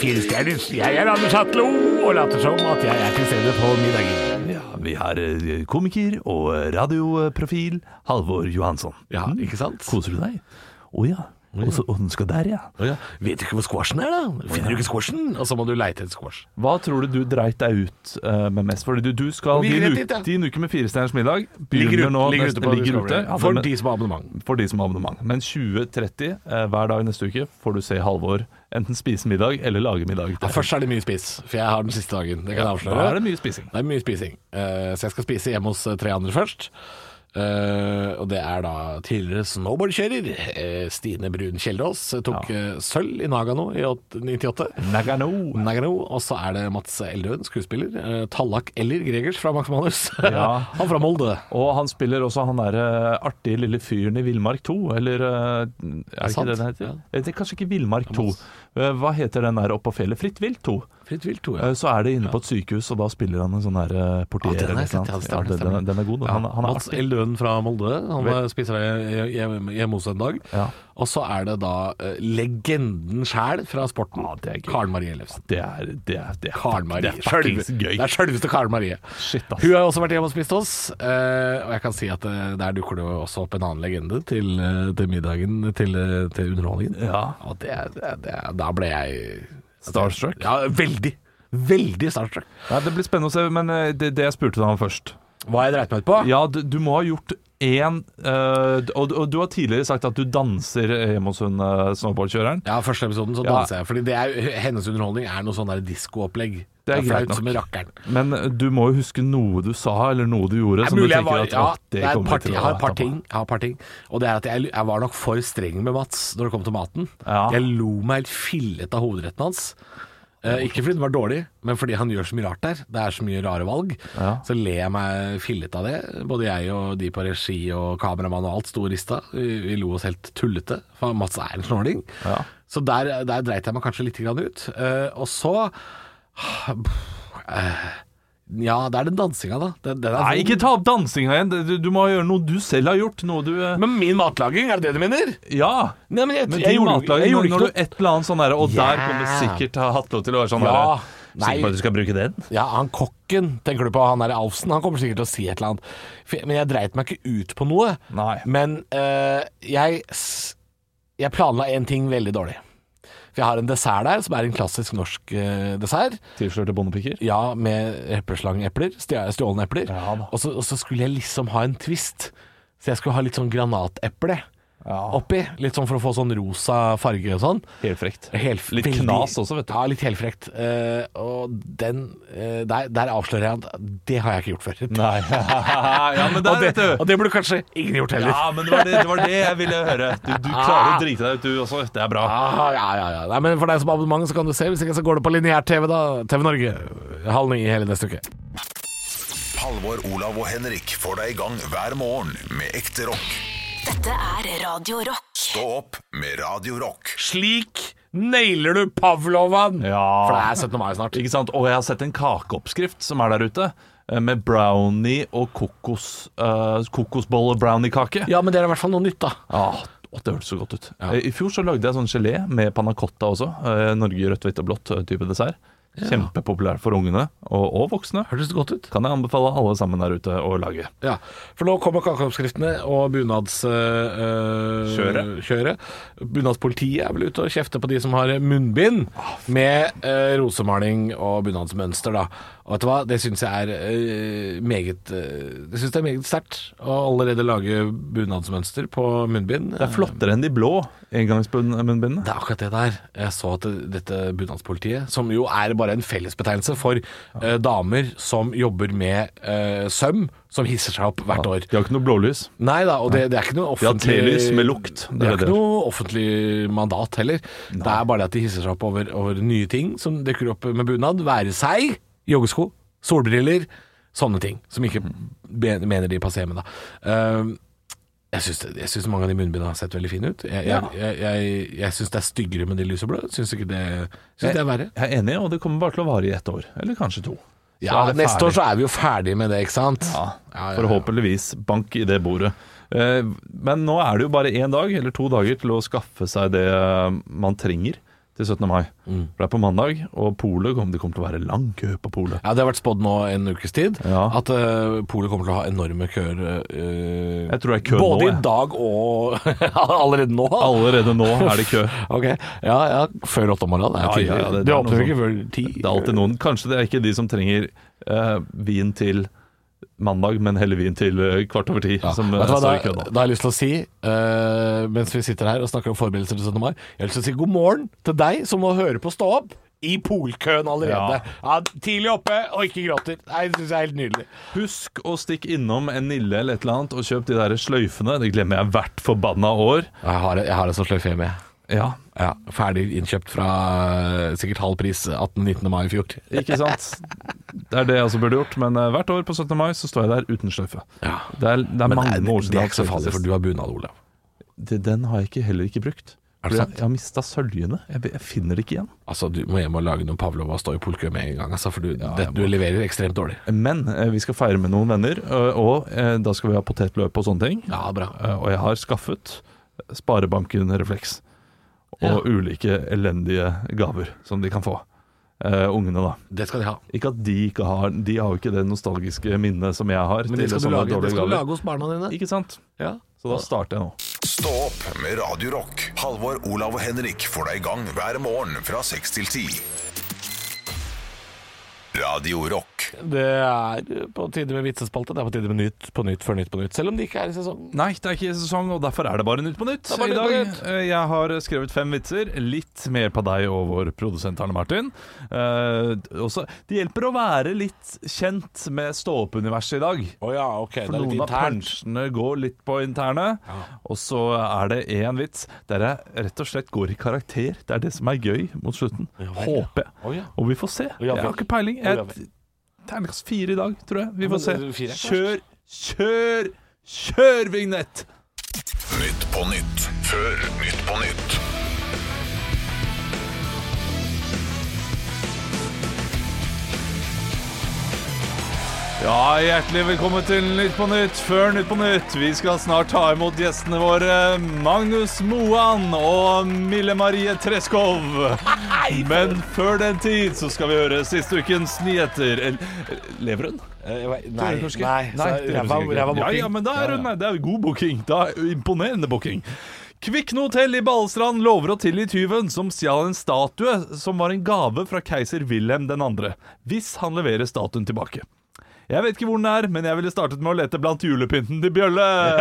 S8: firestjerners. Jeg er Anders Hatlo og later som at jeg er til stede på middagen.
S4: Ja, vi har eh, komiker og radioprofil Halvor Johansson. Mm.
S3: Ja, ikke sant?
S4: Koser du deg? Å ja. Og så og den skal der, ja.
S3: Å ja. Vet du ikke hvor squashen er, da? Finner du ikke squashen? Og så må du leite etter squash.
S4: Hva tror du du dreit deg ut eh, med mest? Fordi du, du skal
S3: Vi
S4: din,
S3: rett
S4: uke-
S3: dit, ja.
S4: din uke med Firestjerners middag
S3: Ligger,
S4: begynner
S3: ut,
S4: nå
S3: ligger
S4: neste-
S3: ute på
S4: ligger ute.
S3: Discovery.
S4: Ja,
S3: For
S4: men-
S3: de som har abonnement.
S4: for de som har abonnement. Men 20.30 eh, hver dag neste uke får du se Halvor enten spise middag eller lage middag.
S3: Ja, først er det mye spis, for jeg har den siste dagen. Det kan jeg avsløre.
S4: Da er det mye spising.
S3: Det er mye spising. Eh, så jeg skal spise hjemme hos eh, tre andre først. Eh, og det er da tidligere snowboardkjører eh, Stine Brun Kjeldås. eh, Tok eh, sølv i Nagano i åt- 98.
S4: Nagano.
S3: Nagano, og så er det Mats Eldøen, skuespiller. Eh, Tallak eller Gregers fra Max Manus.
S4: Ja.
S3: Han fra Molde.
S4: Og han spiller også han derre artige lille fyren i Villmark 2, eller eh, Er det ikke
S3: sant.
S4: det den heter?
S3: Ja.
S4: Eh, Det er kanskje ikke Villmark 2. Eh, Hva heter den der oppe på fjellet? Fritt vilt 2.
S3: Fritt vilt, tror
S4: Eh, Så er det inne på et sykehus, og da spiller han en sånn her eh, portier.
S3: Ja, den har
S4: eller
S3: jeg sett,
S4: noe
S3: ja, det
S4: sånt.
S3: stemmer,
S4: Ja, den,
S3: stemmer.
S4: den, den er god. da. Han, han er
S3: Mats
S4: artig.
S3: Eldøen fra Molde. Han var spiser det hjemme hjemme hos en dag.
S4: Ja.
S3: Og så er det da eh, legenden sjæl fra sporten.
S4: Ja, det er gøy.
S3: Karen Marie Ellefsen.
S4: Det er, det er, det er,
S3: Karen Marie.
S4: det er fuckings
S3: Sjølve-
S4: gøy.
S3: Det er sjølveste Karen Marie.
S4: Shit, ass.
S3: Hun har også vært hjemme og spist hos, eh, og jeg kan si at eh, der dukker det jo også opp en annen legende til, eh, til middagen, til, eh, til underholdningen.
S4: Ja.
S3: Og det, er- det, er- det, er- da ble jeg
S4: Starstruck?
S3: Ja, veldig. Veldig starstruck.
S4: Nei, det blir spennende å se, men eh, det, det jeg spurte deg om først
S3: Hva har jeg dreit meg ut på?
S4: Ja, du, du må ha gjort én eh, og, og du har tidligere sagt at du danser hjemme hos hun eh, snowboardkjøreren.
S3: Ja, første episoden så
S4: Ja.
S3: danser jeg. Fordi det er, hennes underholdning er noe sånn der diskoopplegg.
S4: Det er greit
S3: flaut
S4: nok.
S3: som en rakkeren.
S4: Men du må jo huske noe du sa, eller noe du gjorde, som du tenker at
S3: ja,
S4: «Å, det
S3: er et
S4: kommer
S3: par
S4: til
S3: ting-
S4: å
S3: jeg har et par
S4: ta på meg».
S3: ting, jeg har et par ting. Og det er at jeg, jeg var nok for streng med Mats når det kom til maten.
S4: Ja.
S3: Jeg lo meg helt fillet av hovedretten hans. Eh, ikke fordi den var dårlig, men fordi han gjør så mye rart der. Det er så mye rare valg.
S4: Ja.
S3: Så ler jeg meg fillet av det. Både jeg og de på regi og kameramann og alt sto og rista. Vi, vi lo oss helt tullete, for Mats er en snåling.
S4: Ja.
S3: Så der, der dreit jeg meg kanskje litt grann ut. Eh, og så ah, eh, Ja, det er den dansinga, da. Den, den er
S4: Nei,
S3: vond.
S4: ikke ta opp dansinga igjen! Du, du må gjøre noe du selv har gjort. Noe du eh,
S3: Men min matlaging, er det det du mener?
S4: Ja!
S3: Nei, men jeg,
S4: Men
S3: jeg,
S4: din
S3: gjorde,
S4: matlaging,
S3: jeg gjorde ikke
S4: når, når
S3: noe
S4: du et eller annet sånn derre Og der
S3: Ja.
S4: kommer sikkert Hatlo til å være sånn
S3: Ja.
S4: derre
S3: Nei.
S4: Sikker på at du skal bruke den?
S3: Ja, han kokken, tenker du på han der Alfsen, han kommer sikkert til å si et eller annet. For- Men jeg dreit meg ikke ut på noe.
S4: Nei.
S3: Men eh, jeg, s- jeg planla én ting veldig dårlig. For jeg har en dessert der, som er en klassisk norsk eh, dessert.
S4: Tilslørte bondepiker?
S3: Ja, med epleslangeepler, stj- stjålne epler.
S4: Ja da.
S3: og, så, og så skulle jeg liksom ha en twist. Så jeg skulle ha litt sånn granateple
S4: Ja.
S3: oppi. Litt sånn for å få sånn rosa farge og sånn.
S4: Helt frekt.
S3: Helt,
S4: Litt
S3: veldig-
S4: knas også, vet du.
S3: Ja, litt helfrekt. Eh, og den eh, der, der avslører jeg at det har jeg ikke gjort før.
S4: Nei. ja, men
S3: og,
S4: der,
S3: det,
S4: vet du.
S3: og det burde kanskje ingen gjort heller.
S4: Ja, men det var det, det var det jeg ville høre. Du, du klarer å drite deg ut, du også. Det er bra.
S3: Ah, ja, ja, ja. Nei, men for deg som har abonnement, så kan du se. Hvis ikke så går det på lineær-TV, da. TV Norge. Halv ni hele neste uke.
S1: Halvor, Olav og Henrik får deg i gang hver morgen med ekte rock.
S2: Dette er Radio Rock.
S1: Stå opp med Radio Rock.
S3: Slik nailer du Pavlovan!
S4: Ja.
S3: For det er 17. mai snart.
S4: Ikke sant? Og jeg har sett en kakeoppskrift som er der ute, eh, med brownie og kokos, eh, kokosbolle-brownie-kake.
S3: Ja, men det er i hvert fall noe nytt, da.
S4: Ah, å, det hørtes så godt ut. Eh, I fjor så lagde jeg sånn gelé med panna cotta også. Eh, Norge rødt, hvitt og blått eh, type dessert. Kjempepopulær for ungene og, og voksne.
S3: Hørtes det godt ut?
S4: Kan jeg anbefale alle sammen der ute å lage.
S3: Ja, for nå kommer kakeoppskriftene og bunads... øh,
S4: Kjøret.
S3: kjøret. Bunadspolitiet er vel ute og kjefter på de som har munnbind med øh, rosemaling og bunadsmønster, da. Og vet du hva, det syns jeg er øh, meget øh, Det syns jeg er meget sterkt å allerede lage bunadsmønster på munnbind.
S4: Det er flottere enn de blå engangsmunnbindene.
S3: Det er akkurat det der. Jeg så at det- dette bunadspolitiet, som jo er bare en fellesbetegnelse for øh, damer som jobber med øh, søm, som hisser seg opp hvert år.
S4: De har ikke noe blålys.
S3: Nei da, og det, det er ikke noe
S4: De har
S3: offentlig
S4: telys med lukt, det
S3: Det
S4: er
S3: er ikke
S4: det.
S3: noe offentlig mandat heller. Det er bare det at de hisser seg opp over, over nye ting som dukker opp med bunad. Være seg joggesko, solbriller, sånne ting. Som ikke
S4: Mm.
S3: be- mener de passer hjemme, da. Ehm, jeg syns, jeg syns mange av de munnbindene har sett veldig fine ut. Jeg, jeg, jeg, jeg, jeg syns det er styggere med de lyseblå. Syns ikke det, syns det er verre.
S4: Jeg er enig, og det kommer bare til å vare i ett år. Eller kanskje to. Så
S3: Ja,
S4: er det
S3: neste år
S4: ferdig.
S3: så er vi jo ferdige med det, ikke sant?
S4: ja,
S3: Ja, ja, ja.
S4: Forhåpentligvis bank i det bordet. Eh, Men nå er det jo bare én dag eller to dager til å skaffe seg det eh, man trenger til 17. mai.
S3: Mm.
S4: For det er på mandag, og polet kommer, det kommer til å være lang kø på polet.
S3: Ja, Det har vært spådd nå en ukes tid
S4: Ja.
S3: at uh, polet kommer til å ha enorme køer. eh,
S4: Jeg tror det er kø
S3: både
S4: nå,
S3: i
S4: jeg.
S3: dag og allerede nå.
S4: Allerede nå er det kø.
S3: Ok, ja, ja, Før åtte om morgenen. Det er
S4: Ja,
S3: tidlig.
S4: ja, ja,
S3: de
S4: det- det er
S3: åpner
S4: noe
S3: jo ikke før ti.
S4: Det er alltid noen. Kanskje det er ikke de som trenger eh, vin til mandag, men heller vin til eh, kvart over ti,
S3: Ja.
S4: som eh,
S3: Vet du hva,
S4: står i
S3: da,
S4: kø nå.
S3: da har jeg lyst til å si, eh, mens vi sitter her og snakker om forberedelser til 17. mai, jeg har lyst til å si god morgen til deg som må høre på Stå opp i polkøen allerede.
S4: Ja.
S3: Ja, tidlig oppe og ikke gråter. Nei, Det syns jeg er helt nydelig.
S4: Husk å stikke innom en Nille eller et eller annet og kjøp de der sløyfene. Det glemmer jeg hvert forbanna år.
S3: Jeg har, jeg har en sånn sløyfe hjemme. jeg.
S4: Ja,
S3: Ja, ferdig innkjøpt fra eh, sikkert halv pris 18-19. mai i fjor.
S4: ikke sant? Det er det jeg også burde gjort, men eh, hvert år på 17. mai så står jeg der uten sløyfe.
S3: Ja.
S4: Det er, det er
S3: Men
S4: mange
S3: det,
S4: år
S3: er,
S4: siden
S3: det
S4: jeg
S3: er
S4: har
S3: ikke så
S4: hatt
S3: farlig,
S4: sløyfe
S3: for
S4: sist.
S3: du har bunad, Olav.
S4: Det- Den har jeg ikke, heller ikke brukt.
S3: Er det
S4: Fordi jeg-
S3: sant?
S4: Jeg har mista søljene. Jeg, jeg finner det ikke igjen.
S3: Altså, Du må hjem og lage noen Pavlova og stå i polkø med en gang, altså, for du, det, du leverer ekstremt dårlig.
S4: Men eh, vi skal feire med noen venner, og, og eh, da skal vi ha potetløp og sånne ting.
S3: Ja, bra.
S4: Eh, Og jeg har skaffet Sparebanken Refleks. Og ulike elendige gaver som de kan få. Eh, ungene, da.
S3: Det skal de ha.
S4: Ikke at de ikke har De har jo ikke det nostalgiske minnet som jeg har.
S3: Men det skal,
S4: til
S3: du
S4: sånne
S3: lage,
S4: dårlige
S3: det skal du
S4: gaver.
S3: lage hos barna dine.
S4: Ikke sant?
S3: Ja.
S4: Så da starter jeg nå.
S1: Stå opp med Radio Rock. Halvor, Olav og Henrik får deg i gang hver morgen fra 6 til 10. Radio Rock.
S3: Det er på tide med vitsespalte. Det er på tide med Nytt på nytt før Nytt på nytt. Selv om det ikke er i sesong.
S4: Nei, det er ikke sesong, og derfor er det bare Nytt på Nytt
S3: er bare
S4: i
S3: Nytt på
S4: dag.
S3: Nytt.
S4: Eh, Jeg har skrevet fem vitser. Litt mer på deg og vår produsent Arne Martin. Eh, også, det hjelper å være litt kjent med stå-opp-universet i dag.
S3: Å ja, ok.
S4: For noen av punchene går litt på interne, og så er det én vits der jeg rett og slett går i karakter. Det er det som er gøy mot slutten. Håper jeg.
S3: Å ja.
S4: Og vi får se.
S3: ja
S4: Jeg har
S3: vel.
S4: ikke peiling.
S3: Å ja vel.
S4: Jeg Terningkast fire i dag, tror jeg. Vi får se.
S3: men, eh, fire er
S4: Kjør, kjør, kjør vignett!
S1: Nytt på nytt før Nytt på nytt.
S4: Ja, hjertelig velkommen til Nytt på Nytt før Nytt på Nytt. Vi skal snart ta imot gjestene våre Magnus Moan og Mille Marie Treskov. Men før den tid så skal vi høre siste ukens nyheter. El- Lever hun?
S3: Eh, jeg vet- Nei,
S4: Tror jeg
S3: nei,
S4: kanskje ikke.
S3: så
S4: det gjør hun
S3: ræva-
S4: sikkert ikke.
S3: ræva
S4: Ja,
S3: booking.
S4: ja, men da er hun Det er jo god booking. Da er Imponerende booking. Kvikne hotell i Balestrand lover å tilgi tyven som stjal en statue som var en gave fra keiser Wilhelm 2., hvis han leverer statuen tilbake. Jeg vet ikke hvor den er, men jeg ville startet med å lete blant julepynten til Bjølle.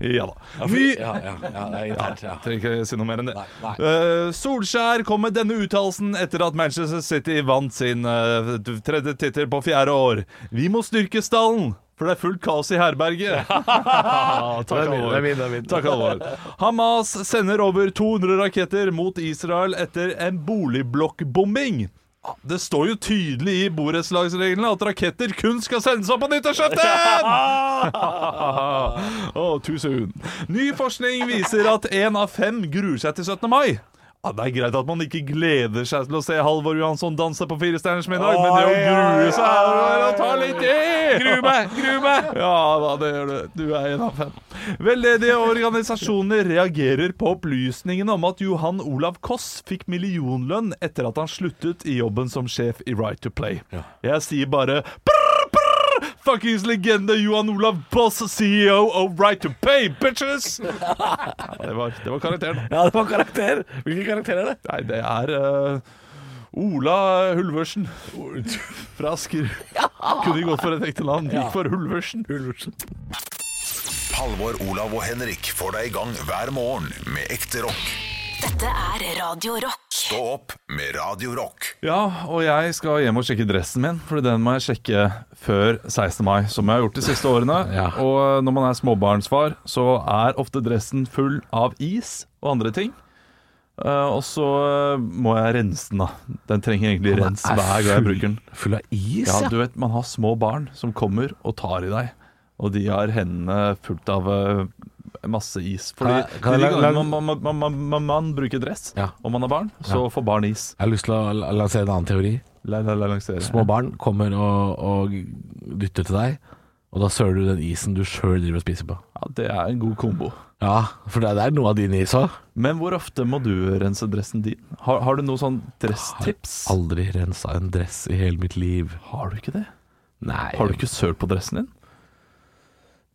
S4: ja da. Ny,
S3: Ja, ja, ja, det er internt, ja.
S4: Trenger ikke si noe mer enn det.
S3: Nei, nei.
S4: Eh, Solskjær kom med denne uttalelsen etter at Manchester City vant sin eh, tredje tittel på fjerde år. Vi må styrke stallen, for det er fullt kaos i herberget. Takk,
S3: det er min, det er min.
S4: Takk, Halvor. Hamas sender over 200 raketter mot Israel etter en boligblokkbombing. Ah, Det står jo tydelig i borettslagsreglene at raketter kun skal sendes opp på nyttårsaften! oh, too soon. Ny forskning viser at én av fem gruer seg til 17. mai. Ja, det er greit at man ikke gleder seg til å se Halvor Johansson danse på Firestjerners middag, men det å grue seg er vel å ta litt i! Gru meg! Gru meg! Ja da, det gjør du. Du er en av fem. Veldedige organisasjoner reagerer på opplysningene om at Johan Olav Koss fikk millionlønn etter at han sluttet i jobben som sjef i Right to Play. Jeg sier bare prr, prr, Fuckings legende Johan Olav Boss, CEO of Right to Pay, bitches! Ja, det var, det var karakteren.
S3: Ja, det var karakter. Hvilken karakter er det?
S4: Nei, det er eh, Ola Hulversen fra Asker. Kunne gått for et ekte navn. Gikk for Hulversen.
S1: Halvor, Olav og Henrik får deg i gang hver morgen med ekte rock.
S2: Dette er Radio Rock.
S1: Stå opp med Radio Rock.
S4: Ja, og jeg skal hjem og sjekke dressen min, for den må jeg sjekke før 16. mai, som jeg har gjort de siste årene.
S3: Ja.
S4: Og når man er småbarnsfar, så er ofte dressen full av is og andre ting. Eh, og så eh, må jeg rense den, da. Den trenger egentlig rens hver gang jeg bruker den.
S3: Full av is,
S4: Ja,
S3: ja.
S4: du vet, man har små barn som kommer og tar i deg, og de har hendene fullt av eh, masse is.
S3: Kan
S4: Fordi
S3: jeg- kan jeg
S4: de
S3: la-
S4: gangene
S3: la-
S4: man, man, man, man, man, man bruker dress,
S3: Ja.
S4: og man har barn, så får barn is.
S3: Jeg har lyst til å la- lansere en annen teori.
S4: La, la, la, lansere.
S3: Små barn kommer og, og dytter til deg, Og da søler du den isen du sjøl driver og spiser på.
S4: Ja, Det er en god kombo.
S3: Ja, for det det er noe av din is òg.
S4: Men hvor ofte må du rense dressen din? Har, har du noe sånn dresstips?
S3: Aldri rensa en dress i hele mitt liv.
S4: Har du ikke det?
S3: Nei,
S4: Har du ikke søl på dressen din?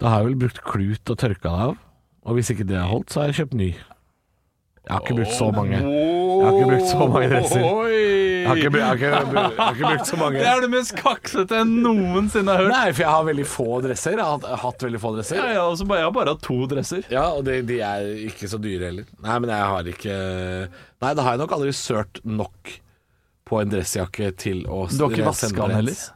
S3: da har jeg vel brukt klut og tørka det av. Og hvis ikke det har holdt, så har jeg kjøpt ny. Jeg har ikke brukt så mange. Jeg har ikke brukt så mange dresser. Jeg har ikke, bru- jeg har ikke, bru- jeg har ikke brukt så
S4: Det
S3: mange.
S4: er det mest kaksete jeg noensinne har hørt.
S3: Nei, for jeg har veldig få dresser. Jeg har hatt- hatt veldig få
S4: Ja,
S3: dresser.
S4: ja, altså, bare- jeg har bare hatt to dresser.
S3: Ja, og de, de er ikke så dyre heller. Nei, men jeg har ikke Nei, da har jeg nok aldri sørt nok på en dressjakke til å eh,
S4: Du har ikke vaska
S3: sende
S4: den
S3: rett.
S4: heller?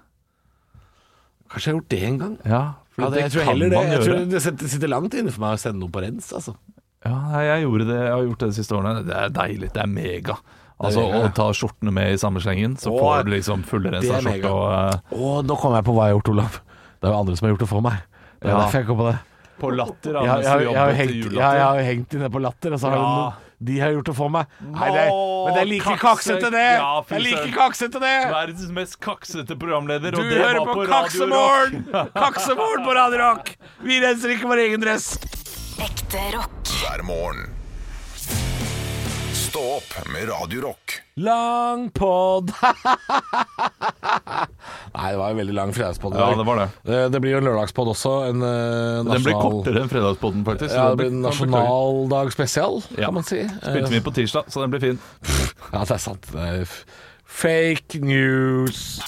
S3: Kanskje jeg har gjort det en gang.
S4: Ja, for
S3: Ja, det,
S4: det,
S3: jeg tror
S4: kan
S3: heller det.
S4: man
S3: Jeg
S4: gjøre.
S3: tror det sitter sitter langt inne for meg å sende noe på rens, altså.
S4: Ja, nei, jeg gjorde det Jeg har gjort det de siste årene. Det er deilig. Det er mega. Altså
S3: mega, ja.
S4: Å ta skjortene med i samme slengen, så
S3: Å,
S4: får du liksom fullrensa
S3: det er mega.
S4: skjorte. Og, eh,
S3: Å, nå kom jeg på hva jeg har gjort, Olav. Det er jo andre som har gjort det for meg. Det er
S4: Ja.
S3: derfor jeg kom på det.
S4: eh, på latter, da,
S3: Jeg, har-
S4: mens
S3: jeg, har-
S4: du
S3: jeg, har jo
S4: jobbet til
S3: hengt, jeg, jeg har
S4: julelatter.
S3: jo hengt inne på latter, og så har
S4: Ja.
S3: jo no- de har gjort det for meg. Nei, det, men det er like
S4: Kakse-
S3: kaksete, det!
S4: Ja, fy
S3: Det er like
S4: søren.
S3: kaksete, det!
S4: Verdens mest kaksete programleder,
S3: Du
S4: og det
S3: hører
S4: var
S3: på,
S4: på, Radio Rock.
S3: Kaksemorgen! Kaksemorgen på Radio Rock! Vi renser ikke vår egen dress.
S2: Ekte rock.
S1: hver morgen. Stå opp med Radio Rock.
S3: Lang pod. Nei, det var en veldig lang fredagspod. i
S4: Ja,
S3: dag.
S4: det var det.
S3: Eh, Det blir jo en lørdagspod også. En eh, nasjonal...
S4: Den ble kortere enn fredagspodden, faktisk.
S3: Ja,
S4: så
S3: det blir en
S4: den kan beklage.
S3: nasjonaldag spesial,
S4: Ja.
S3: kan man si. Eh,
S4: Spilte vi på tirsdag, så den blir fin.
S3: Ja, det er sant. Det er f- fake news.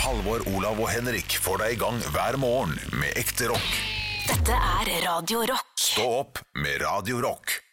S1: Halvor, Olav og Henrik får deg i gang hver morgen med ekte rock.
S2: Dette er Radio Rock.
S1: Stå opp med Radio Rock.